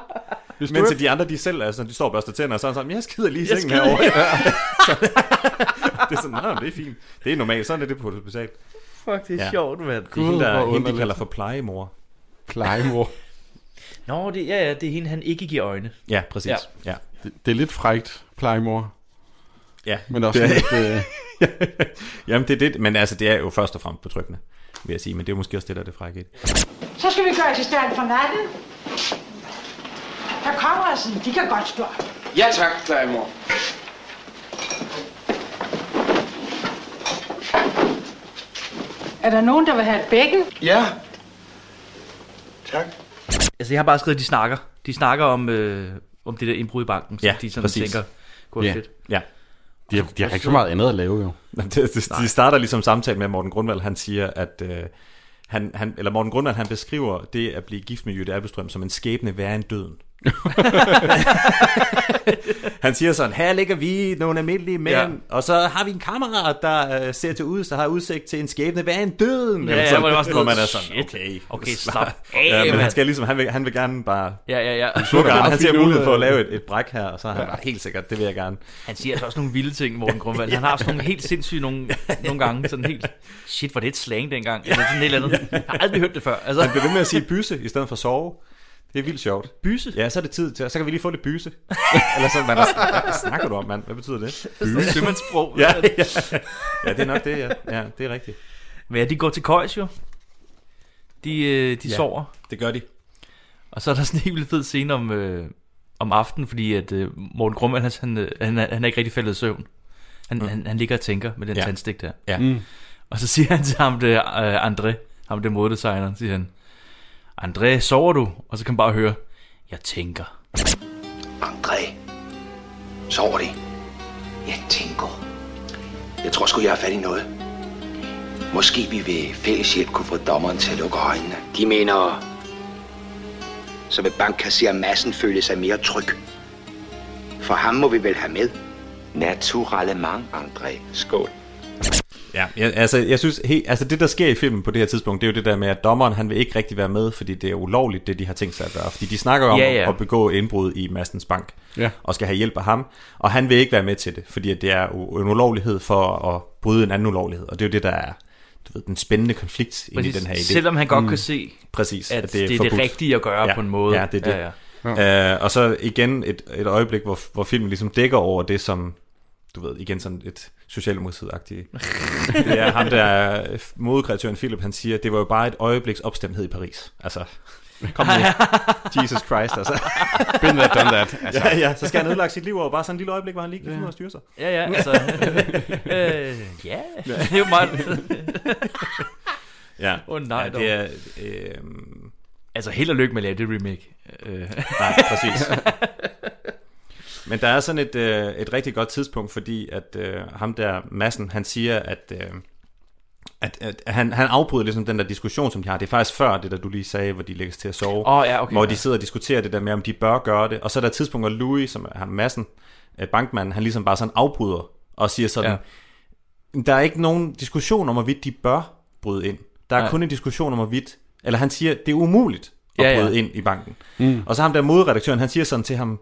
Speaker 4: Hvis du
Speaker 2: Men
Speaker 4: er-
Speaker 2: til de andre, de selv er sådan, de står og børster tænder, og så er han sådan, jeg skider lige i
Speaker 4: Jeg
Speaker 2: sengen
Speaker 4: skider
Speaker 2: herovre.
Speaker 4: lige.
Speaker 2: Ja. det er sådan, nej, det er fint. Det er normalt, sådan er det på et hospital.
Speaker 3: Fuck, det er sjovt, mand.
Speaker 2: Det er hende,
Speaker 3: Gud, Mm. hvor
Speaker 2: der, hende, de
Speaker 3: underligt.
Speaker 2: kalder for plejemor.
Speaker 4: Plejemor.
Speaker 3: Nå, det, ja, ja, det er hende, han ikke giver øjne.
Speaker 2: Ja, præcis.
Speaker 3: Ja.
Speaker 2: Ja.
Speaker 4: Det, det er lidt frægt, plejemor.
Speaker 2: Ja.
Speaker 4: Men også
Speaker 2: Det er-
Speaker 4: lidt... Øh,
Speaker 2: Jamen, det er det, men altså, det er jo først og fremmest betryggende, vil jeg sige, men det er måske også det, der er det frække i det.
Speaker 11: Så skal vi gøre assistent for natten. Herr Conradsen, altså. de kan godt stå op.
Speaker 7: Ja tak, plejemor.
Speaker 11: Er der nogen, der vil have et bækken?
Speaker 7: Ja. Tak.
Speaker 3: Altså, jeg har bare skrevet, at de snakker. De snakker om, øh, om det der indbrud i banken, som
Speaker 2: Ja,
Speaker 3: de sådan
Speaker 2: præcis.
Speaker 3: tænker, går yeah.
Speaker 2: Ja,
Speaker 3: fedt.
Speaker 2: ja.
Speaker 4: De har, de har ikke så meget andet at lave, jo.
Speaker 2: Det, det, de starter ligesom samtalen med, at Morten Grundvald, han siger, at... Øh, han, han, eller Morten Grundvald, han beskriver det at blive gift med Jytte Abelstrøm som en skæbne værre end døden. han siger sådan, her ligger vi, nogle almindelige mænd,
Speaker 3: Ja.
Speaker 2: ja. og så har vi en kammerat, der øh, ser til ud, så har udsigt til en skæbne værre end døden.
Speaker 3: Ja,
Speaker 2: Eller
Speaker 3: ja,
Speaker 2: sådan,
Speaker 3: hvor det var sådan
Speaker 2: hvor
Speaker 3: noget,
Speaker 2: man er sådan,
Speaker 3: shit.
Speaker 2: okay,
Speaker 3: Okay, slap af,
Speaker 2: ja, men han,
Speaker 3: mand.
Speaker 2: skal ligesom, han, vil, han vil gerne bare...
Speaker 3: Ja, ja, ja.
Speaker 2: Han, slukker,
Speaker 3: Ja,
Speaker 2: han ser
Speaker 3: fint ud,
Speaker 2: mulighed for at
Speaker 3: ja.
Speaker 2: lave et, et bræk her, og så er han
Speaker 3: Ja.
Speaker 2: ja. helt sikkert, det vil jeg gerne.
Speaker 3: Han siger altså også nogle vilde ting, Morten Grundvald. Han har også nogle helt sindssyge nogle, nogle gange. Sådan helt, shit, var det et slang dengang? Eller sådan et eller andet. Jeg har aldrig hørt det før. Altså.
Speaker 2: Altså. Han bliver ved med at sige byse i stedet for sove. Det er vildt sjovt.
Speaker 3: Byse?
Speaker 2: Ja, så er det tid til, så kan vi lige få lidt byse. Eller sådan, man, hvad snakker du om, mand? Hvad betyder det?
Speaker 3: Byse? Sømandssprog.
Speaker 2: ja, ja, ja, det er nok det, ja. ja det er rigtigt.
Speaker 3: Men ja, de går til køjs jo. De, øh, de
Speaker 2: Ja,
Speaker 3: ja, sover.
Speaker 2: det gør de.
Speaker 3: Og så er der sådan en helt vildt fed scene om, øh, om aftenen, fordi at øh, Morten Grumman, han, han, øh, han, er- han er ikke rigtig faldet i søvn. Han, mm. han, han ligger og tænker med den
Speaker 2: Ja.
Speaker 3: ja. tandstik der.
Speaker 2: Ja.
Speaker 3: Mm.
Speaker 2: Mm.
Speaker 3: Og så siger han til ham, det, øh, André, ham det modedesigneren, siger han, André, sover du? Og så kan man bare høre, jeg tænker.
Speaker 6: André, sover de? Jeg tænker. Jeg tror sgu, jeg har fat i noget. Måske vi ved fælles hjælp kunne få dommeren til at lukke øjnene.
Speaker 5: De mener, så vil bankkasserer massen føle sig mere tryg. For ham må vi vel have med. Naturalement, André. Skål.
Speaker 2: Ja, jeg, altså, jeg synes, he, altså det der sker i filmen på det her tidspunkt, det er jo det der med, at dommeren han vil ikke rigtig være med, fordi det er ulovligt, det de har tænkt sig at gøre. Fordi de snakker jo om
Speaker 3: Ja, ja.
Speaker 2: at begå indbrud i Mastens Bank,
Speaker 4: Ja.
Speaker 2: og skal have hjælp af ham, og han vil ikke være med til det, fordi at det er u- en ulovlighed for at bryde en anden ulovlighed, og det er jo det, der er du ved, den spændende konflikt inde i
Speaker 3: Præcis.
Speaker 2: den her idé. Mm.
Speaker 3: Selvom han godt kan se,
Speaker 2: Præcis,
Speaker 3: at det er det
Speaker 2: forbudt.
Speaker 3: rigtige at gøre
Speaker 2: ja,
Speaker 3: på en måde.
Speaker 2: Ja, det er det.
Speaker 3: Ja, ja.
Speaker 2: Ja. Øh, og så igen et, et øjeblik, hvor, hvor filmen ligesom dækker over det, som, du ved, igen sådan et socialdemokratiet-agtigt. det er ham, der er modekreatøren Philip, han siger, det var jo bare et øjebliks opstemthed i Paris. Altså, kom nu. Jesus Christ, altså.
Speaker 4: Been there, done that. Altså.
Speaker 2: Ja, ja, så skal han ødelægge sit liv over bare sådan et lille øjeblik, hvor han lige kan finde ud af at styre sig.
Speaker 3: Ja, ja, altså, øh, ja, det er jo meget...
Speaker 2: Ja.
Speaker 3: Åh, nej,
Speaker 2: ja,
Speaker 3: dog.
Speaker 2: det er, øh,
Speaker 3: Altså, held og lykke med at lave det remake. Øh.
Speaker 2: Nej, præcis. Men der er sådan et, øh, et rigtig godt tidspunkt, fordi at øh, ham der, Massen, han siger, at, øh, at, at han, han afbryder ligesom den der diskussion, som de har. Det er faktisk før det, der du lige sagde, hvor de lægges til at sove.
Speaker 3: Åh, ja, okay,
Speaker 2: hvor
Speaker 3: ja.
Speaker 2: de sidder og diskuterer det der med, om de bør gøre det. Og så er der et tidspunkt, hvor Louis, som er ham Massen, øh, bankmanden, han ligesom bare sådan afbryder og siger sådan, ja. der er ikke nogen diskussion om, hvorvidt de bør bryde ind. Der er
Speaker 3: Nej.
Speaker 2: Nej. kun en diskussion om, hvorvidt, eller han siger, det er umuligt at
Speaker 3: Ja, ja.
Speaker 2: ja, bryde ind i banken.
Speaker 3: Mm.
Speaker 2: Mm. Og så ham der modredaktøren, han siger sådan til ham,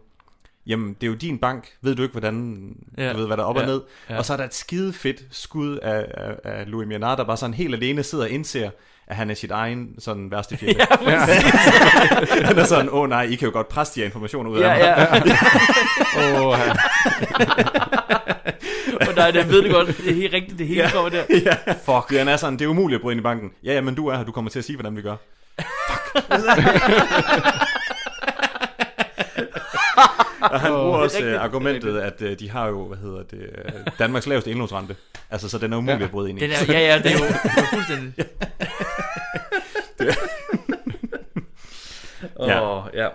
Speaker 2: jamen det er jo din bank, ved du ikke, hvordan,
Speaker 3: Ja.
Speaker 2: ja. du ved, hvad der er op
Speaker 3: Ja.
Speaker 2: og ned.
Speaker 3: Ja.
Speaker 2: Og så er der et skide fedt skud af, af, af Louis Mianard, der bare sådan helt alene sidder og indser, at han er sit egen sådan værste fjende.
Speaker 3: Ja, præcis.
Speaker 2: han er sådan, åh oh, nej, I kan jo godt presse de her informationer ud
Speaker 3: Ja,
Speaker 2: af
Speaker 3: ja.
Speaker 2: mig.
Speaker 3: Åh, ja. Åh, nej, det ved det godt. Det er helt rigtigt, det hele
Speaker 2: Ja.
Speaker 3: kommer der.
Speaker 2: Ja. Fuck. Det, han er sådan, det er umuligt at bryde ind i banken. Ja, ja, men du er her, du kommer til at sige, hvordan vi gør. Og han bruger
Speaker 3: Det er
Speaker 2: også
Speaker 3: rigtigt.
Speaker 2: øh, argumentet, at øh, de har jo, hvad hedder det, øh, Danmarks laveste indlånsrente. Altså, så den er umulig
Speaker 3: Ja.
Speaker 2: at bryde ind i.
Speaker 3: Den er- ja, ja, det er jo- det er jo fuldstændig.
Speaker 2: Det-
Speaker 3: Åh, ja.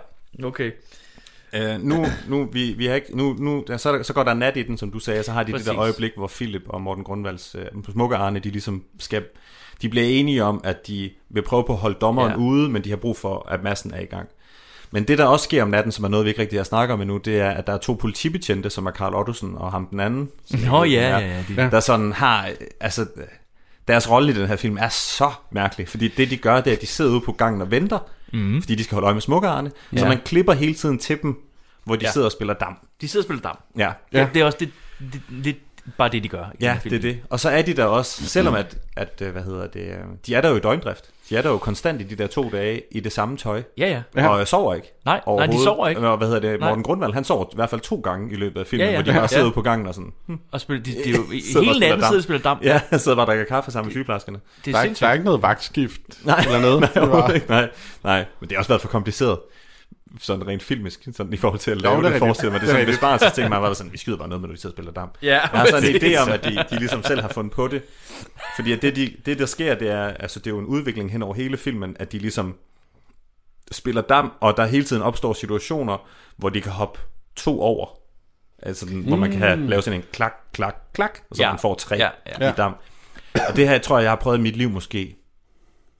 Speaker 3: Okay.
Speaker 2: Øh, nu, nu, vi, vi har ikke, nu, nu ja, så, er der, så går der nat i den, som du sagde, og så har de Præcis. det
Speaker 3: Præcis.
Speaker 2: der øjeblik, hvor Philip og Morten Grundvalds øh, smukke Arne, de ligesom skal, de bliver enige om, at de vil prøve på at holde dommeren
Speaker 3: Ja.
Speaker 2: ja. ude, men de har brug for, at massen er i gang. Men det, der også sker om natten, som er noget, vi ikke rigtig har snakket om endnu, det er, at der er to politibetjente, som er Karl Ottosen og ham den anden. som jeg
Speaker 3: Nå,
Speaker 2: ved, hvem
Speaker 3: ja,
Speaker 2: er,
Speaker 3: ja, ja, de-
Speaker 2: Der sådan har, øh, altså, øh, deres rolle i den her film er så mærkelig, fordi det, de gør, det er, at de sidder ude på gangen og venter,
Speaker 3: Mhm.
Speaker 2: mm. fordi de skal holde øje med smukkerne, ja.
Speaker 3: Ja.
Speaker 2: så man klipper hele tiden til dem, hvor de
Speaker 3: Ja.
Speaker 2: ja. sidder og spiller dam.
Speaker 3: De sidder og spiller dam.
Speaker 2: Ja.
Speaker 3: ja. Det er også det, det, lidt bare det, de gør. i den
Speaker 2: Ja,
Speaker 3: her film. Mhm.
Speaker 2: det er det. Og så er de der også, selvom at, at øh, hvad hedder det, øh, de er der jo i døgndrift. De er der jo konstant i de der to dage i det samme tøj.
Speaker 3: Ja, ja.
Speaker 2: Og øh, sover ikke.
Speaker 3: Nej, nej, de
Speaker 2: overhovedet.
Speaker 3: sover ikke.
Speaker 2: Og hvad hedder det,
Speaker 3: Nej.
Speaker 2: Morten Grundvald, han sover i hvert fald to gange i løbet af filmen,
Speaker 3: Ja,
Speaker 2: ja,
Speaker 3: ja.
Speaker 2: ja. hvor de bare
Speaker 3: Ja.
Speaker 2: sidder ude på gangen og sådan. hm.
Speaker 3: Og spiller, de, de, er jo, i-
Speaker 2: Sidder bare og
Speaker 3: hele natten
Speaker 2: dam.
Speaker 3: sidder og spiller dam.
Speaker 2: Ja, sidder bare og drikker kaffe sammen med sygeplejerskerne.
Speaker 3: Det
Speaker 4: der,
Speaker 3: er
Speaker 4: er, ikke- der
Speaker 3: sindssygt.
Speaker 4: er ikke noget vagtskift
Speaker 2: Nej,
Speaker 4: eller noget.
Speaker 2: nej,
Speaker 4: Det var-
Speaker 2: overhovedet ikke. nej, nej, men det har også været for kompliceret sådan rent filmisk, sådan i forhold til at
Speaker 4: det er
Speaker 2: lave det,
Speaker 4: rigtigt.
Speaker 2: forestiller mig. Det er sådan en
Speaker 4: Det er rigtigt.
Speaker 2: besparelse ting, man var sådan, vi skyder bare noget med, når de sidder og spiller damp.
Speaker 3: Ja,
Speaker 2: jeg har sådan en
Speaker 3: præcis.
Speaker 2: idé om, at de, de ligesom selv har fundet på det. Fordi at det, de, det, der sker, det er, altså det er jo en udvikling hen over hele filmen, at de ligesom spiller dam, og der hele tiden opstår situationer, hvor de kan hoppe to over. Altså, den, mm. hvor man kan have, lave sådan en klak, klak, klak, og så ja. man får tre ja, ja. i dam. Og det her tror jeg, jeg har prøvet i mit liv måske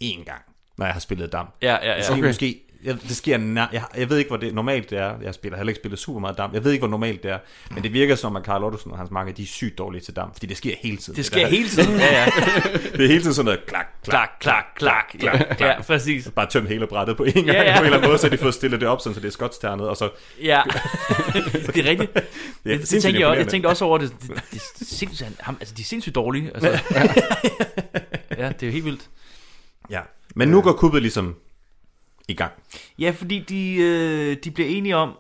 Speaker 2: én gang, når jeg har spillet dam.
Speaker 3: Ja, ja, ja.
Speaker 2: Det sker okay. måske jeg, det sker nær, jeg, jeg ved ikke, hvor det normalt det er. Jeg spiller heller ikke spillet super meget dam. Jeg ved ikke, hvor normalt det er. Men det virker som, at Karl Ottesen og hans marker, de er sygt dårlige til dam. Fordi det sker hele tiden.
Speaker 3: Det sker det hele tiden, ja, ja.
Speaker 2: det er hele tiden sådan noget klak, klak, klak, klak, klak, klak. klak.
Speaker 3: Ja, præcis.
Speaker 2: Bare tøm hele brættet på en gang ja, ja. på en eller anden måde, så de får stillet det op, sådan, så det er skotsternet. Og så...
Speaker 3: Ja, det er rigtigt. Det, ja, det, det tænkte jeg, også, jeg tænkte også over det. det, det, det, det sindssygt, ham, altså, de er sindssygt dårlige. Altså. Ja. ja, det er jo helt vildt.
Speaker 2: Ja, men
Speaker 3: Øh.
Speaker 2: nu går kuppet ligesom i gang.
Speaker 3: Ja, fordi de, øh, de bliver enige om,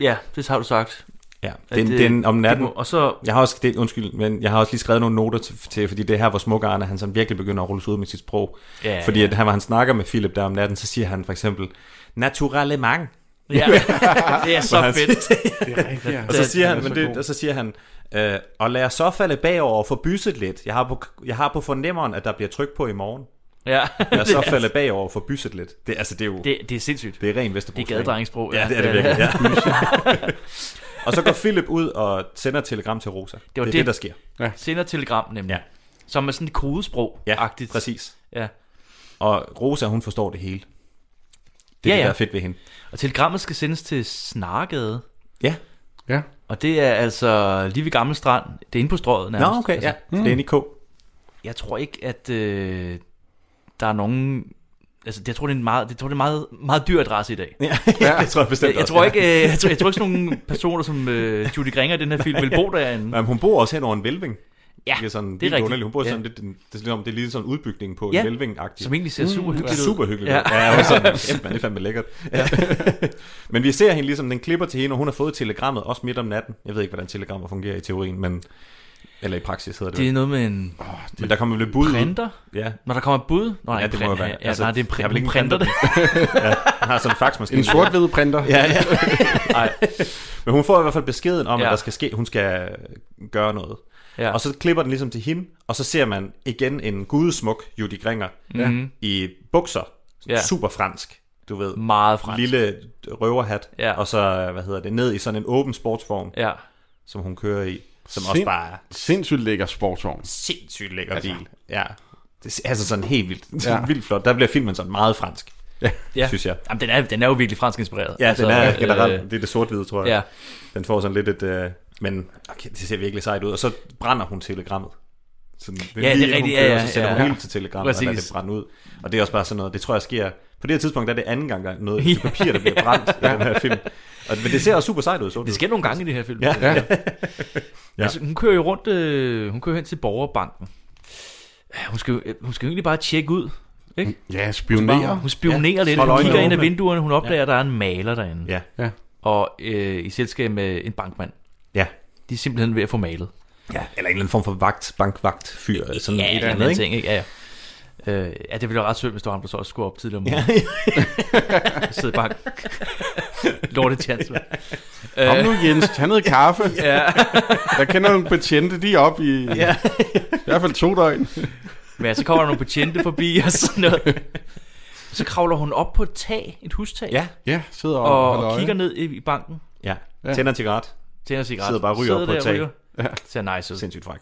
Speaker 3: ja, det har du sagt.
Speaker 2: Ja, den, at, den om natten.
Speaker 3: De må, og så,
Speaker 2: jeg har også, det, undskyld, men jeg har også lige skrevet nogle noter til, til fordi det her, hvor smuk Arne, han sådan virkelig begynder at rulle ud med sit sprog. Ja, fordi ja. At han, han snakker med Philip der om natten, så siger han for eksempel, naturalement.
Speaker 3: Ja, det er så han, fedt.
Speaker 2: det er rigtigt, ja.
Speaker 4: Altså,
Speaker 2: Og så siger han, men det, og så siger han, øh, og lad jeg så falde bagover og få bysset lidt. Jeg har, på, jeg har på fornemmeren, at der bliver tryk på i morgen.
Speaker 3: Ja.
Speaker 2: Jeg så faldet bagover for byset lidt. Det, altså, det er jo...
Speaker 3: Det, det er sindssygt.
Speaker 2: Det er ren Vesterbro.
Speaker 3: Det er gadedrengsprog.
Speaker 2: Ja, det er det virkelig. Ja. og så går Philip ud og sender telegram til Rosa. Det, var det er det, det der sker.
Speaker 3: Ja. Sender telegram nemlig. Ja. Som er sådan et kodesprog-agtigt.
Speaker 2: Ja, præcis.
Speaker 3: Ja.
Speaker 2: Og Rosa, hun forstår det hele. Det er ja, ja. det, der er fedt ved hende.
Speaker 3: Og telegrammet skal sendes til Snargade.
Speaker 2: Ja. Ja.
Speaker 3: Og det er altså lige ved Gamle Strand. Det er inde på strøget nærmest.
Speaker 2: Nå, okay,
Speaker 3: altså,
Speaker 2: ja. Mm. Det er inde i K.
Speaker 3: Jeg tror ikke, at... Øh, der er nogen... Altså, jeg tror, det er en meget, jeg tror, det er meget, meget dyr adresse i dag.
Speaker 2: Ja, ja det tror jeg bestemt
Speaker 3: jeg, jeg tror ikke, øh, jeg, tror, jeg tror ikke sådan nogle personer som øh, Judy Gringer i den her film vil bo derinde.
Speaker 2: Jamen, hun bor også hen over en velving.
Speaker 3: Ja,
Speaker 2: det er, sådan,
Speaker 3: det er rigtigt.
Speaker 2: Underligt. Hun bor sådan ja. lidt, det, det, det, det er lige sådan en udbygning på ja. en velving -agtig.
Speaker 3: Som egentlig ser super mm, hyggeligt
Speaker 2: ud. Super hyggeligt ja. ja, ja sådan, ja, man, det er fandme lækkert. Ja. men vi ser hende ligesom, den klipper til hende, og hun har fået telegrammet også midt om natten. Jeg ved ikke, hvordan telegrammer fungerer i teorien, men... Eller i praksis hedder det.
Speaker 3: Det er noget med en...
Speaker 2: Oh, det men der kommer vel bud.
Speaker 3: Printer?
Speaker 2: Ja.
Speaker 3: Når der kommer et bud? Nå,
Speaker 2: nej, ja, det må
Speaker 3: print,
Speaker 2: være.
Speaker 3: Ja, altså, nej, det er pr- jeg vil ikke printer det.
Speaker 2: ja, han har sådan en faxmaskine.
Speaker 4: En sort-hvid printer.
Speaker 2: ja, ja. nej. Men hun får i hvert fald beskeden om, ja. at der skal ske, hun skal gøre noget. Ja. Og så klipper den ligesom til hende, og så ser man igen en gudesmuk Judy Gringer ja.
Speaker 3: Mhm.
Speaker 2: i bukser. Ja. Super fransk du ved.
Speaker 3: Meget fransk.
Speaker 2: Lille røverhat.
Speaker 3: Ja.
Speaker 2: Og så, hvad hedder det, ned i sådan en åben sportsform,
Speaker 3: ja.
Speaker 2: som hun kører i. Som Sind, også bare er...
Speaker 4: Sindssygt lækker sportsvogn.
Speaker 2: Sindssygt lækker altså. bil. Ja. Det er altså sådan helt vildt, ja. vildt flot. Der bliver filmen sådan meget fransk. Ja, ja. synes jeg.
Speaker 3: Jamen, den, er, den er jo virkelig fransk inspireret.
Speaker 2: Ja, altså, den er generelt, øh, det er det sort-hvide, tror jeg.
Speaker 3: Ja.
Speaker 2: Den får sådan lidt et, øh, men okay, det ser virkelig sejt ud. Og så brænder hun telegrammet. Sådan,
Speaker 3: ja, lige, det er rigtigt, kører, ja, ja,
Speaker 2: så sender
Speaker 3: ja,
Speaker 2: hun ja. helt til telegrammet, Præcis. og lader det brænde ud. Og det er også bare sådan noget, det tror jeg sker, på det her tidspunkt der er det anden gang, der er noget ja. papir, der bliver brændt ja. i den her film. Og, men det ser også super sejt ud. Så
Speaker 3: det sker nogle gange i det her film.
Speaker 2: Ja. ja.
Speaker 3: ja. Altså, hun kører jo rundt, øh, hun kører hen til borgerbanken. Hun skal, øh, hun skal jo egentlig bare tjekke ud. Ikke?
Speaker 4: Ja, spionere. Hun, bare,
Speaker 3: hun spionerer ja. lidt, hun kigger ind ad vinduerne, hun opdager, ja. at der er en maler derinde.
Speaker 2: Ja. ja.
Speaker 3: Og øh, i selskab med en bankmand.
Speaker 2: Ja.
Speaker 3: De er simpelthen ved at få malet.
Speaker 2: Ja, eller en eller anden form for vagt, bankvagt fyr. Ja,
Speaker 3: sådan ja, et eller andet, ting, ikke? Ja, ja. Øh, ja, det ville være ret sødt, hvis du ham, der så også skulle op tidligere om morgenen. Ja. Sidde bare lortet chance.
Speaker 4: Ja. Kom nu, Jens, tag noget kaffe.
Speaker 3: Ja.
Speaker 4: Jeg kender nogle betjente, de er op i ja. i hvert fald to døgn.
Speaker 3: Men ja, så kommer der nogle betjente forbi og sådan noget. Så kravler hun op på et tag, et hustag.
Speaker 2: Ja,
Speaker 4: ja sidder
Speaker 3: og, og, og kigger ned i, banken.
Speaker 2: Ja, ja. tænder en cigaret.
Speaker 3: Tænder en cigaret.
Speaker 2: Sidder bare og ryger sidder op på et tag.
Speaker 3: Ja. Ser nice ud.
Speaker 2: Sindssygt fræk.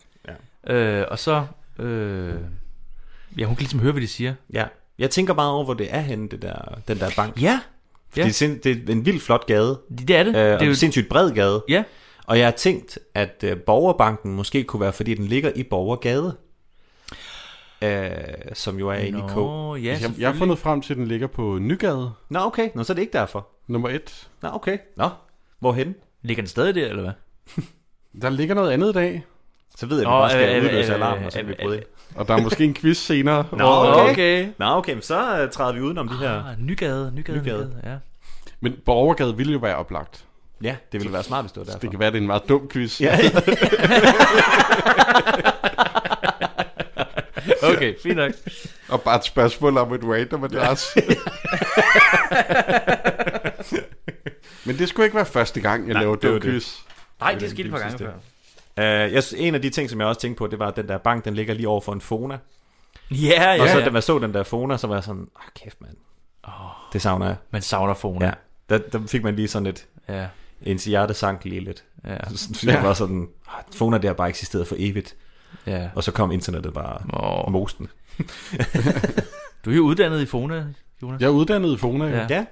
Speaker 3: Ja. Øh, og så... Øh, Ja, hun kan ligesom høre, hvad de siger.
Speaker 2: Ja. Jeg tænker bare over, hvor det er henne, det der, den der bank.
Speaker 3: Ja.
Speaker 2: Fordi ja. Det, er sind, det er en vild flot gade.
Speaker 3: Det er det. Øh, det
Speaker 2: er jo... en sindssygt bred gade.
Speaker 3: Ja.
Speaker 2: Og jeg har tænkt, at øh, borgerbanken måske kunne være, fordi den ligger i Borgergade. Øh, som jo er inde i K.
Speaker 3: Ja,
Speaker 4: jeg, jeg har fundet frem til, at den ligger på Nygade.
Speaker 2: Nå, okay. Nå, så er det ikke derfor.
Speaker 4: Nummer et.
Speaker 2: Nå, okay. Nå, hvorhen?
Speaker 3: Ligger den stadig der, eller hvad?
Speaker 4: der ligger noget andet i dag.
Speaker 2: Så ved jeg, at vi bare skal øh, udløse alarmen, og så vi bryde
Speaker 4: Og der er måske en quiz senere.
Speaker 2: Nå, okay. okay. Nå, okay, så træder vi udenom ah, de her...
Speaker 3: Nygade, Nygade, Nygade, Nygade ja.
Speaker 4: Men Borgergade ville jo være oplagt.
Speaker 2: Ja, det ville være smart, hvis det var derfor.
Speaker 4: Det kan være, det er en meget dum quiz.
Speaker 2: Ja.
Speaker 3: okay, fint nok.
Speaker 4: Og bare et spørgsmål om et random adresse. Men det skulle ikke være første gang, jeg Nej, laver dum quiz.
Speaker 3: Nej, det, det skete par gange før.
Speaker 2: Uh, jeg, en af de ting, som jeg også tænkte på, det var, at den der bank, den ligger lige over for en Fona.
Speaker 3: Ja, yeah, ja. Yeah,
Speaker 2: og så
Speaker 3: yeah.
Speaker 2: da man så den der Fona, så var jeg sådan, åh oh, "Ah, kæft mand.
Speaker 3: Oh.
Speaker 2: Det savner jeg.
Speaker 3: Man savner Fone.
Speaker 2: Ja, der, der fik man lige sådan lidt...
Speaker 3: Ja.
Speaker 2: Ens hjerte sank lige lidt.
Speaker 3: Ja.
Speaker 2: Så, så jeg var sådan, "Ah, Fona der har bare eksisteret for evigt.
Speaker 3: Ja.
Speaker 2: Og så kom internettet bare oh. mosten.
Speaker 3: Du er jo uddannet i Fona, Jonas.
Speaker 4: Jeg er uddannet i Fona,
Speaker 3: Ja.
Speaker 4: ja.
Speaker 3: Ja.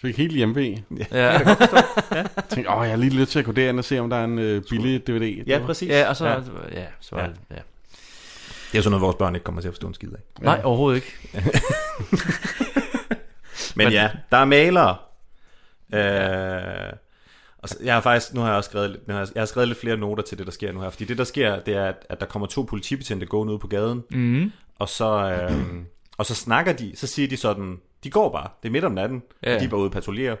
Speaker 4: Fik helt hjemme Ja. Det
Speaker 3: kan jeg
Speaker 4: godt forstå. ja. Tænkte, åh, jeg er lige lidt til at gå derind og se, om der er en øh, billig DVD.
Speaker 2: Ja, præcis.
Speaker 3: Ja, og så...
Speaker 2: Ja.
Speaker 3: Ja, ja så var
Speaker 2: Ja.
Speaker 3: det... Ja.
Speaker 2: Det er jo sådan noget, vores børn ikke kommer til at forstå en skid af.
Speaker 3: Nej, overhovedet ikke.
Speaker 2: Men,
Speaker 3: Men-
Speaker 2: Men ja, der er malere. Øh, og så, jeg har faktisk, nu har jeg også skrevet, lidt- nu har jeg, jeg har skrevet lidt flere noter til det, der sker nu her. Fordi det, der sker, det er, at, at der kommer to politibetjente gående ud på gaden.
Speaker 3: Mhm.
Speaker 2: Og, så, øh, og så snakker de, så siger de sådan, de går bare, det er midt om natten,
Speaker 3: Ja.
Speaker 2: ja. de er bare ude og patruljere.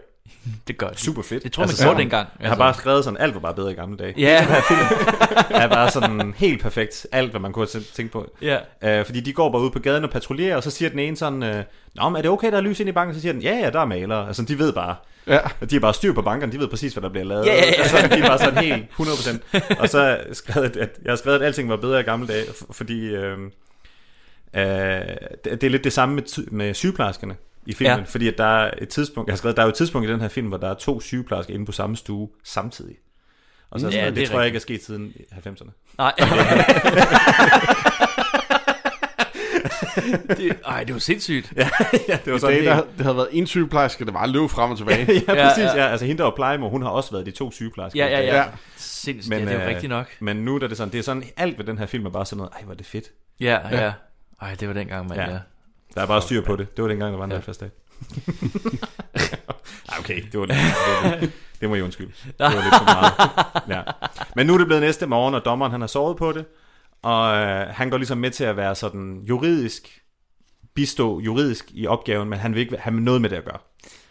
Speaker 3: Det gør de.
Speaker 2: Super fedt.
Speaker 3: Det tror man gjorde
Speaker 2: sådan-
Speaker 3: dengang,
Speaker 2: Jeg har
Speaker 3: altså.
Speaker 2: bare skrevet sådan, alt var bare bedre i gamle dage.
Speaker 3: Ja.
Speaker 2: Den her film er bare sådan helt perfekt. Alt, hvad man kunne have tæ- tænkt på.
Speaker 3: Ja.
Speaker 2: Øh, fordi de går bare ud på gaden og patruljerer, og så siger den ene sådan, øh, Nå, men er det okay, der er lys ind i banken? Så siger den, ja, ja, der er malere. Altså, de ved bare.
Speaker 4: Ja.
Speaker 2: De er bare styr på bankerne, de ved præcis, hvad der bliver lavet.
Speaker 3: Ja, ja, ja.
Speaker 2: Altså, de er bare sådan helt 100%. og så skrevet, at jeg har skrevet, at alting var bedre i gamle dage, f- fordi øh, øh, det det er lidt det samme med, ty- med sygeplejerskerne i filmen,
Speaker 3: Ja.
Speaker 2: ja. fordi at der er et tidspunkt, jeg har skrevet, der er jo et tidspunkt i den her film, hvor der er to sygeplejersker inde på samme stue samtidig. Og så er
Speaker 3: Ja,
Speaker 2: sådan, ja, det,
Speaker 3: det er
Speaker 2: det tror jeg ikke er
Speaker 3: rigtigt.
Speaker 2: sket siden 90'erne.
Speaker 3: Nej. det, ej, det var sindssygt.
Speaker 2: Ja, ja det var sådan
Speaker 4: I dag,
Speaker 2: helt-
Speaker 4: der, det havde været en sygeplejerske, der bare løb frem og tilbage.
Speaker 2: ja, ja, præcis. Ja. ja. Altså hende, der var plejemor, hun har også været de to sygeplejersker.
Speaker 3: Ja, ja, ja.
Speaker 4: Ja.
Speaker 3: Sindssygt. Ja, det er jo
Speaker 2: øh,
Speaker 3: rigtigt nok.
Speaker 2: Men nu der er det sådan, det er sådan, alt ved den her film er bare sådan noget, ej, hvor er det fedt.
Speaker 3: Ja, ja. Ej, det var dengang, man... Ja.
Speaker 2: Der er bare styr på det. Det var dengang, der var en ja. fast dag. Ej, okay, det var det. var lidt- Det må jeg undskylde. Det var lidt for meget. Ja. Men nu er det blevet næste morgen, og dommeren han har sovet på det. Og øh, han går ligesom med til at være sådan juridisk, bistå juridisk i opgaven, men han vil ikke have noget med det at gøre.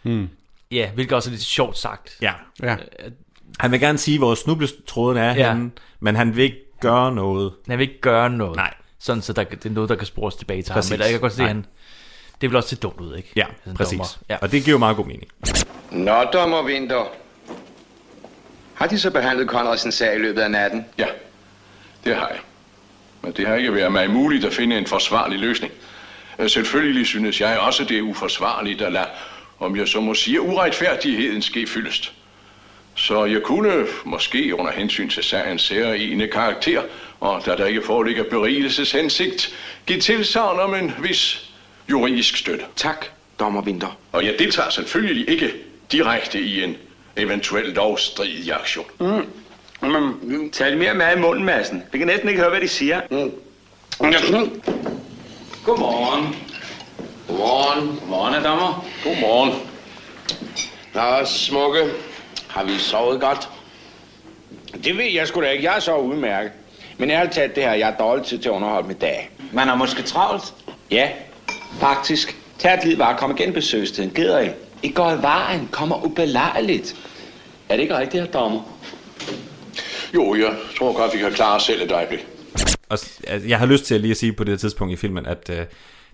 Speaker 4: Hmm.
Speaker 3: Ja, hvilket også er lidt sjovt sagt.
Speaker 2: Ja.
Speaker 4: Ja.
Speaker 2: Øh, Han vil gerne sige, hvor snubletråden er
Speaker 3: Ja.
Speaker 2: ja. henne, men han vil ikke gøre noget.
Speaker 3: Han vil ikke gøre noget.
Speaker 2: Nej.
Speaker 3: Sådan, så der, det er noget, der kan spores tilbage til
Speaker 2: Præcis.
Speaker 3: ham. Eller jeg kan godt se,
Speaker 2: Nej.
Speaker 3: han... Det vil også se dumt ud, ikke?
Speaker 2: Ja,
Speaker 3: en
Speaker 2: præcis.
Speaker 3: dommer.
Speaker 2: Ja. Og det giver jo meget god mening.
Speaker 5: Nå, dommer Vinter. Har de så behandlet Konradsens sag i løbet af natten?
Speaker 8: Ja, det har jeg. Men det har ikke været mig muligt at finde en forsvarlig løsning. Øh, Selvfølgelig synes jeg også, det er uforsvarligt at lade, om jeg så må sige, uretfærdigheden ske fyldest. Så jeg kunne måske under hensyn til sagens særlige karakter, og da der ikke foreligger berigelses hensigt, give tilsavn om en vis juridisk støtte.
Speaker 5: Tak, dommer Vinter.
Speaker 8: Og jeg deltager selvfølgelig ikke direkte i en eventuel lovstridig aktion.
Speaker 5: Mm. Mm. Tag lidt mere mad i munden, Madsen. Vi kan næsten ikke høre, hvad de siger. Mm. Mm.
Speaker 10: Godmorgen. Godmorgen. Godmorgen, herr dommer. Godmorgen. Nå, smukke. Har vi sovet godt?
Speaker 12: Det ved jeg sgu da ikke. Jeg er så udmærket. Men ærligt talt det her, jeg er dårlig til til at underholde mit dag.
Speaker 10: Man har måske travlt.
Speaker 12: Ja,
Speaker 10: Faktisk.
Speaker 12: tag et lid bare. Kom igen besøgstiden. Gider I? I går i vejen. Kommer ubelejligt.
Speaker 10: Er det ikke rigtigt, herr dommer?
Speaker 8: Jo, jeg tror godt, vi kan klare os selv et øjeblik.
Speaker 2: Og s- altså, jeg har lyst til at lige at sige på det her tidspunkt i filmen, at øh,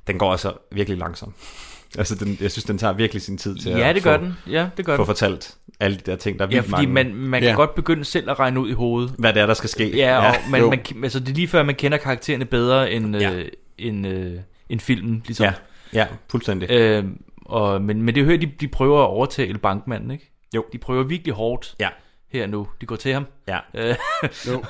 Speaker 2: den går altså virkelig langsomt. altså, den, jeg synes, den tager virkelig sin tid til
Speaker 3: Ja,
Speaker 2: at
Speaker 3: det gør den. Ja, det gør
Speaker 2: få
Speaker 3: den.
Speaker 2: fortalt alle de der ting, der er
Speaker 3: Ja,
Speaker 2: vildt
Speaker 3: fordi
Speaker 2: mange.
Speaker 3: man, man kan
Speaker 2: Ja.
Speaker 3: godt begynde selv at regne ud i hovedet.
Speaker 2: Hvad det er, der skal ske.
Speaker 3: Ja, og
Speaker 2: Ja.
Speaker 3: man,
Speaker 2: Jo.
Speaker 3: man, altså, det er lige før, man kender karaktererne bedre end, ja. øh, end, øh, end filmen. Ligesom.
Speaker 2: Ja. Ja, fuldstændig.
Speaker 3: Øh, og, men, men det hører de, de prøver at overtale bankmanden, ikke?
Speaker 2: Jo.
Speaker 3: De prøver virkelig hårdt
Speaker 2: ja.
Speaker 3: her nu. De går til ham.
Speaker 2: Ja.
Speaker 3: Øh,
Speaker 2: Jo.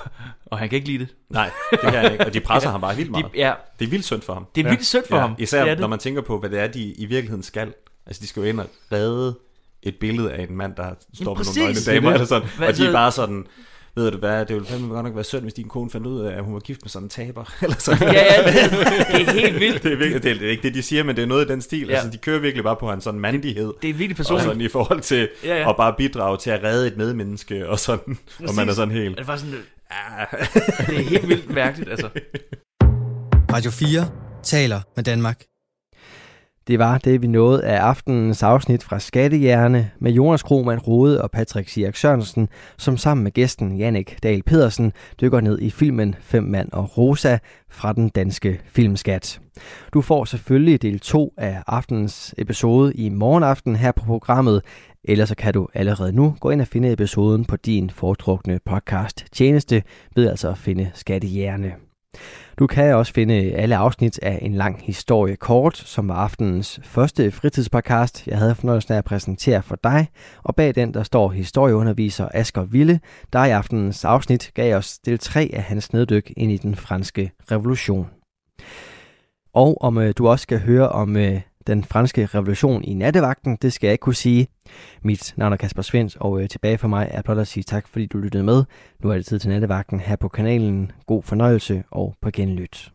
Speaker 3: og han kan ikke lide det.
Speaker 2: Nej, det kan han ikke. Og de presser ham bare vildt meget.
Speaker 3: De, ja.
Speaker 2: Det er vildt synd for ham.
Speaker 3: Det er vildt synd for ham.
Speaker 2: Især
Speaker 3: Det er
Speaker 2: det
Speaker 3: det.
Speaker 2: når man tænker på, hvad det er, de i virkeligheden skal. Altså, de skal jo ind og redde et billede af en mand, der står med
Speaker 3: præcis.
Speaker 2: nogle nøgne
Speaker 3: Det er
Speaker 2: damer,
Speaker 3: det.
Speaker 2: eller sådan.
Speaker 3: Hvad
Speaker 2: og de
Speaker 3: så-
Speaker 2: er bare sådan, ved du hvad, det ville fandme godt nok være synd, hvis din kone fandt ud af, at hun var gift med sådan en taber, eller sådan.
Speaker 3: Ja, ja, det- det er helt vildt.
Speaker 2: Det er, virkelig, det, er, det er ikke det, de siger, men det er noget i den stil.
Speaker 3: Ja.
Speaker 2: Ja. Altså, de kører virkelig bare på hans sådan mandighed.
Speaker 3: det er virkelig
Speaker 2: Og
Speaker 3: personligt.
Speaker 2: sådan i forhold til
Speaker 3: Ja,
Speaker 2: ja,
Speaker 3: ja.
Speaker 2: ja. at bare bidrage til at redde et medmenneske, og sådan. Præcis. Og man er sådan helt...
Speaker 3: Er det, bare sådan,
Speaker 2: Ah.
Speaker 3: det er helt vildt mærkeligt, altså.
Speaker 1: Radio 4 taler med Danmark. Det var det, vi nåede af aftenens afsnit fra Skattehjerne med Jonas Krohmann Rode og Patrick Sierk Sørensen, som sammen med gæsten Jannik Dahl Pedersen dykker ned i filmen Fem Mand og Rosa fra den danske filmskat. Du får selvfølgelig del 2 af aftenens episode i morgenaften her på programmet, eller så kan du allerede nu gå ind og finde episoden på din foretrukne podcast tjeneste ved altså at finde Skattehjerne. Du kan også finde alle afsnit af En Lang Historie Kort, som var aftenens første fritidspodcast, jeg havde fornøjelsen af at præsentere for dig. Og bag den, der står historieunderviser Asger Ville, der i aftenens afsnit gav os del 3 af hans neddyk ind i den franske revolution. Og om øh, du også skal høre om øh, den franske revolution i nattevagten, det skal jeg ikke kunne sige. Mit navn er Kasper Svens, og øh, tilbage for mig er blot at sige tak, fordi du lyttede med. Nu er det tid til nattevagten her på kanalen. God fornøjelse og på genlyt.